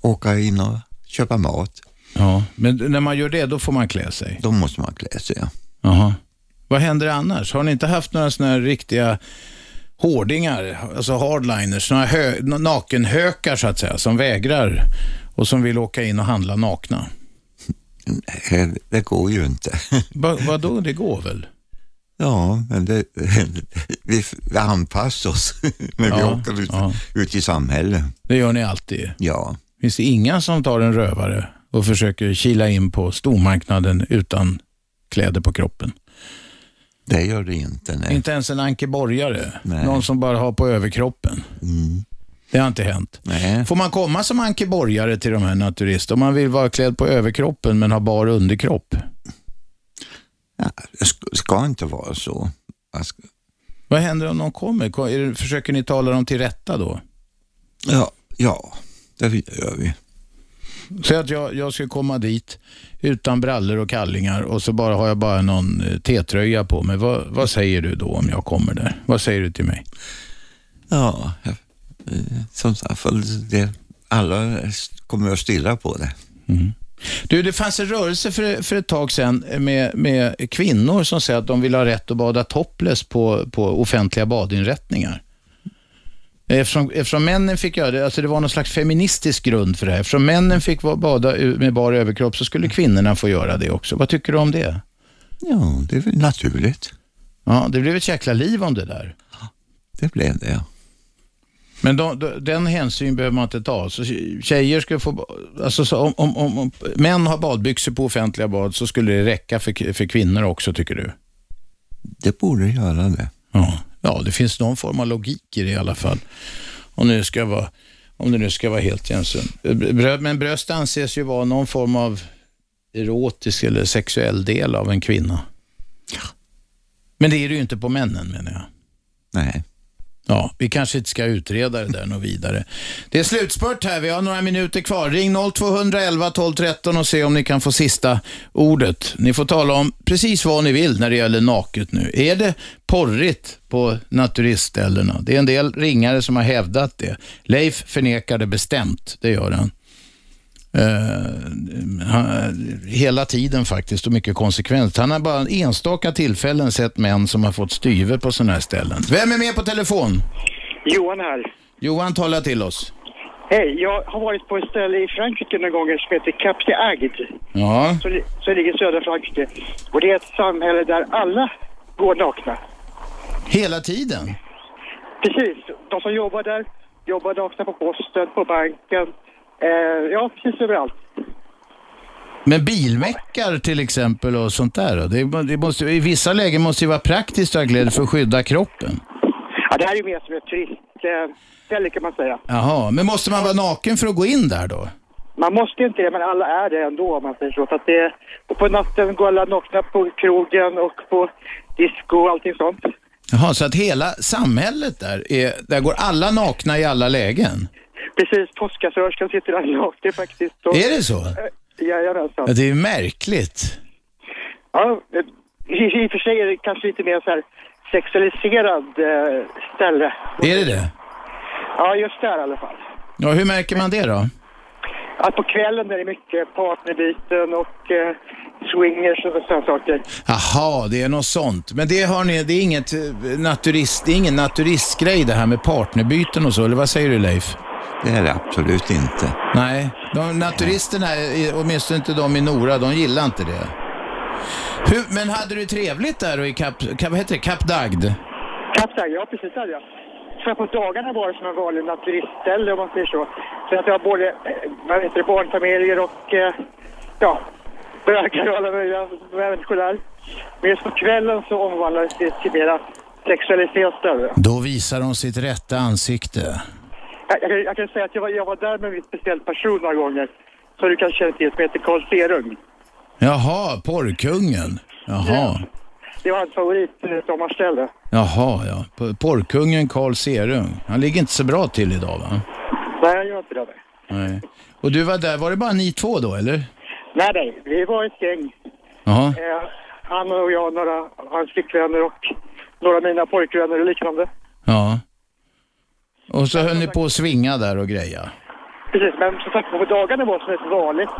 åka in och köpa mat.
Ja, men när man gör det, då får man klä sig?
Då måste man klä sig, ja.
Jaha. Vad händer annars? Har ni inte haft några sådana här riktiga hårdingar, alltså hardliners, några hö- nakenhökar så att säga, som vägrar och som vill åka in och handla nakna?
Eh, Det går ju inte.
Va- vadå, det går väl?
Ja, men det, vi, vi anpassar oss när vi
Ja,
åker ut,
ja.
ut i samhället.
Det gör ni alltid?
Ja.
Finns det inga som tar en rövare och försöker kila in på stormarknaden utan kläder på kroppen?
Det gör det inte, nej.
Inte ens en ankeborgare?
Nej. Mm.
Någon som bara har på överkroppen? Det har inte hänt.
Nej.
Får man komma som ankeborgare till de här naturisterna om man vill vara klädd på överkroppen men ha bar underkropp?
Det sk- ska inte vara så. Man ska-
Vad händer om någon kommer? Ko- är det- Försöker ni tala dem till rätta då?
Ja, ja det gör vi.
Säg att jag, jag ska komma dit utan brallor och kallingar och så bara har jag bara någon eh, T-tröja på mig. Vad, vad säger du då om jag kommer där? Vad säger du till mig?
Ja, eh, som sagt, för det, alla kommer att stirra på det.
Du, det fanns en rörelse för, för ett tag sedan med, med kvinnor som säger att de vill ha rätt att bada topless på, på offentliga badinrättningar. Eftersom, eftersom männen fick göra det, alltså det var någon slags feministisk grund för det här. Eftersom männen fick va- bada u- med bar överkropp så skulle kvinnorna få göra det också. Vad tycker du om det?
Ja, det är väl naturligt.
Ja, det blev ett jäkla liv om det där.
Det blev det, ja.
Men de, de, den hänsyn behöver man inte ta. Så tjejer skulle få, alltså så om, om, om, om män har badbyxor på offentliga bad så skulle det räcka för, för kvinnor också tycker du?
Det borde göra det.
Ja. ja, det finns någon form av logik i det i alla fall. Om det nu ska vara, om det nu ska vara helt jämställt. Brö- Men bröst anses ju vara någon form av erotisk eller sexuell del av en kvinna. Men det är det ju inte på männen menar jag.
Nej.
Ja, vi kanske inte ska utreda det där något vidare. Det är slutspurt här, vi har några minuter kvar. Ring 0211 12 13 och se om ni kan få sista ordet. Ni får tala om precis vad ni vill när det gäller naket nu. Är det porrigt på naturistställena? Det är en del ringare som har hävdat det. Leif förnekar det bestämt, det gör han. Eh, han, hela tiden faktiskt och mycket konsekvent. Han har bara enstaka tillfällen sett män som har fått styver på sådana här ställen. Vem är med på telefon?
Johan här.
Johan talar till oss.
Hej, jag har varit på ett ställe i Frankrike några gånger som heter Cap de Agde.
Ja.
Som, li- som ligger i södra Frankrike. Och det är ett samhälle där alla går nakna.
Hela tiden?
Precis. De som jobbar där jobbar nakna på posten, på banken. Eh, ja, precis överallt.
Men bilmäckar till exempel och sånt där då? det, det måste, I vissa lägen måste det vara praktiskt att ha kläder för att skydda kroppen.
Ja, det här är ju mer som ett turistställe kan man säga.
Jaha, men måste man vara naken för att gå in där då?
Man måste inte det, men alla är det ändå om man säger så. så att det, och på natten går alla nakna på krogen och på disco och allting sånt.
Jaha, så att hela samhället där, är, där går alla nakna i alla lägen?
Precis, påskkassörskan sitter där naken faktiskt. Och,
Är det så?
Eh, Jajamensan.
Ja, det är ju märkligt.
Ja, eh, i, i och för sig är det kanske lite mer så här sexualiserad eh, ställe.
Är det det?
Ja, just där i alla fall.
Ja, hur märker man det då?
Att på kvällen är det mycket partnerbyten och eh, swingers och sådana saker.
Jaha, det är något sånt. Men det, har ni, det, är inget eh, naturist, det är ingen naturistgrej det här med partnerbyten och så, eller vad säger du Leif?
Det är det absolut inte.
Nej, de, naturisterna, i- åtminstone inte de i Nora, de gillar inte det. Hur, men hade du trevligt där och i Kap, Kap, vad heter det, Kap Dagd?
Kapsang, ja precis där ja. Så på dagarna var det som en vanlig naturistställe om man säger så. Så att det var både eh, vad heter det, barnfamiljer och eh, ja, bögar och alla möjliga människor där. Men just på kvällen så omvandlades det till mera sexualiserat ställe.
Då visar de sitt rätta ansikte.
Jag, jag, kan- jag kan säga att jag var, jag var där med en speciell person några gånger. Som du kanske känner till, som heter Carl Serung.
Jaha, porrkungen. Jaha,
Det var hans favorit eh, sommarställe.
jaha ja. P- Porrkungen Carl Serung. Han ligger inte så bra till idag va?
Nej, jag gör inte det.
Nej. Och du var där, var det bara ni två då eller?
Nej, nej. Vi var ett gäng.
Jaha.
Eh, han och jag, några hans flickvänner och några av mina pojkvänner och liknande.
Ja. Och så höll ni på att svinga där och greja.
Precis, men som sagt på dagarna var det som ett vanligt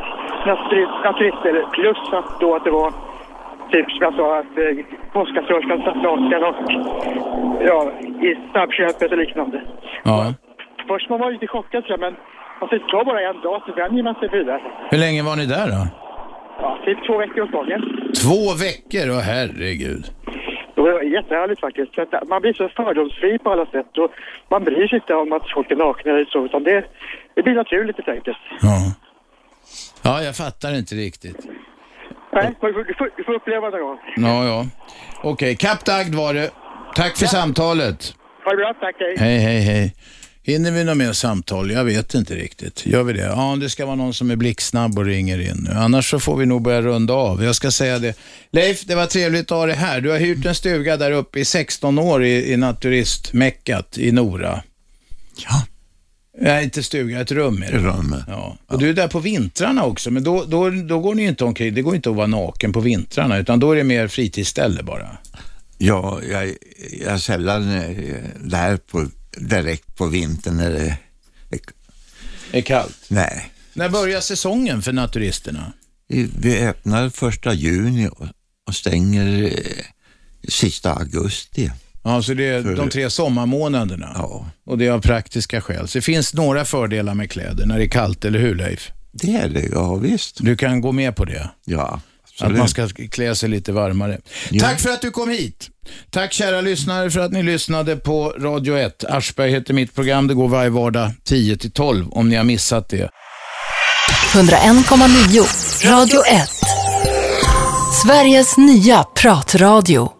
naturi- naturistställe. Plus att då att det var typ som jag sa att eh, påskkassörskan satt naken och ja, i snabbköpet och liknande.
Ja.
Först var man ju lite chockad så här, men alltså, det tar bara en dag så vänjer man sig vid det.
Hur länge var ni där då?
Ja, typ två veckor åt gången.
Två veckor, åh herregud.
Det var jättehärligt faktiskt. Så att Man blir så fördomsfri på alla sätt och man bryr sig inte om att folk är nakna eller så utan det, det blir naturligt helt enkelt.
Ja. Ja, jag fattar inte riktigt.
Nej, du får, du får, du får uppleva det någon gång.
Ja, ja. Okej, Kap Dagd var det. Tack för samtalet.
Ha det bra, tack. Hej.
Hej, hej, hej. Hinner vi något mer samtal? Jag vet inte riktigt. Gör vi det? Ja, det ska vara någon som är blixtsnabb och ringer in nu. Annars så får vi nog börja runda av. Jag ska säga det. Leif, det var trevligt att ha dig här. Du har hyrt en stuga där uppe i 16 år i, i naturistmäckat i Nora. Ja. Nej, inte stuga, ett rum är det.
Rum.
Ja. Och du är där på vintrarna också, men då, då, då går ni ju inte omkring. Det går inte att vara naken på vintrarna, utan då är det mer fritidsställe bara.
Ja, jag, jag är sällan eh, där på, direkt på vintern när det
är kallt.
Nej,
När börjar säsongen för naturisterna?
I- vi öppnar första juni och, och stänger eh, sista augusti.
Ja, så det är
För-
de tre sommarmånaderna. Ja. Och det är av praktiska skäl. Så det finns några fördelar med kläder när det är kallt, eller hur Leif?
Det är det, ja visst.
Du kan gå med på det?
Ja,
Att
absolut.
man ska klä sig lite varmare. Tack för att du kom hit. Tack kära lyssnare för att ni lyssnade på Radio 1. Aschberg heter mitt program. Det går varje vardag 10 till 12 om ni har missat det.
101,9. Radio 1. Sveriges nya pratradio.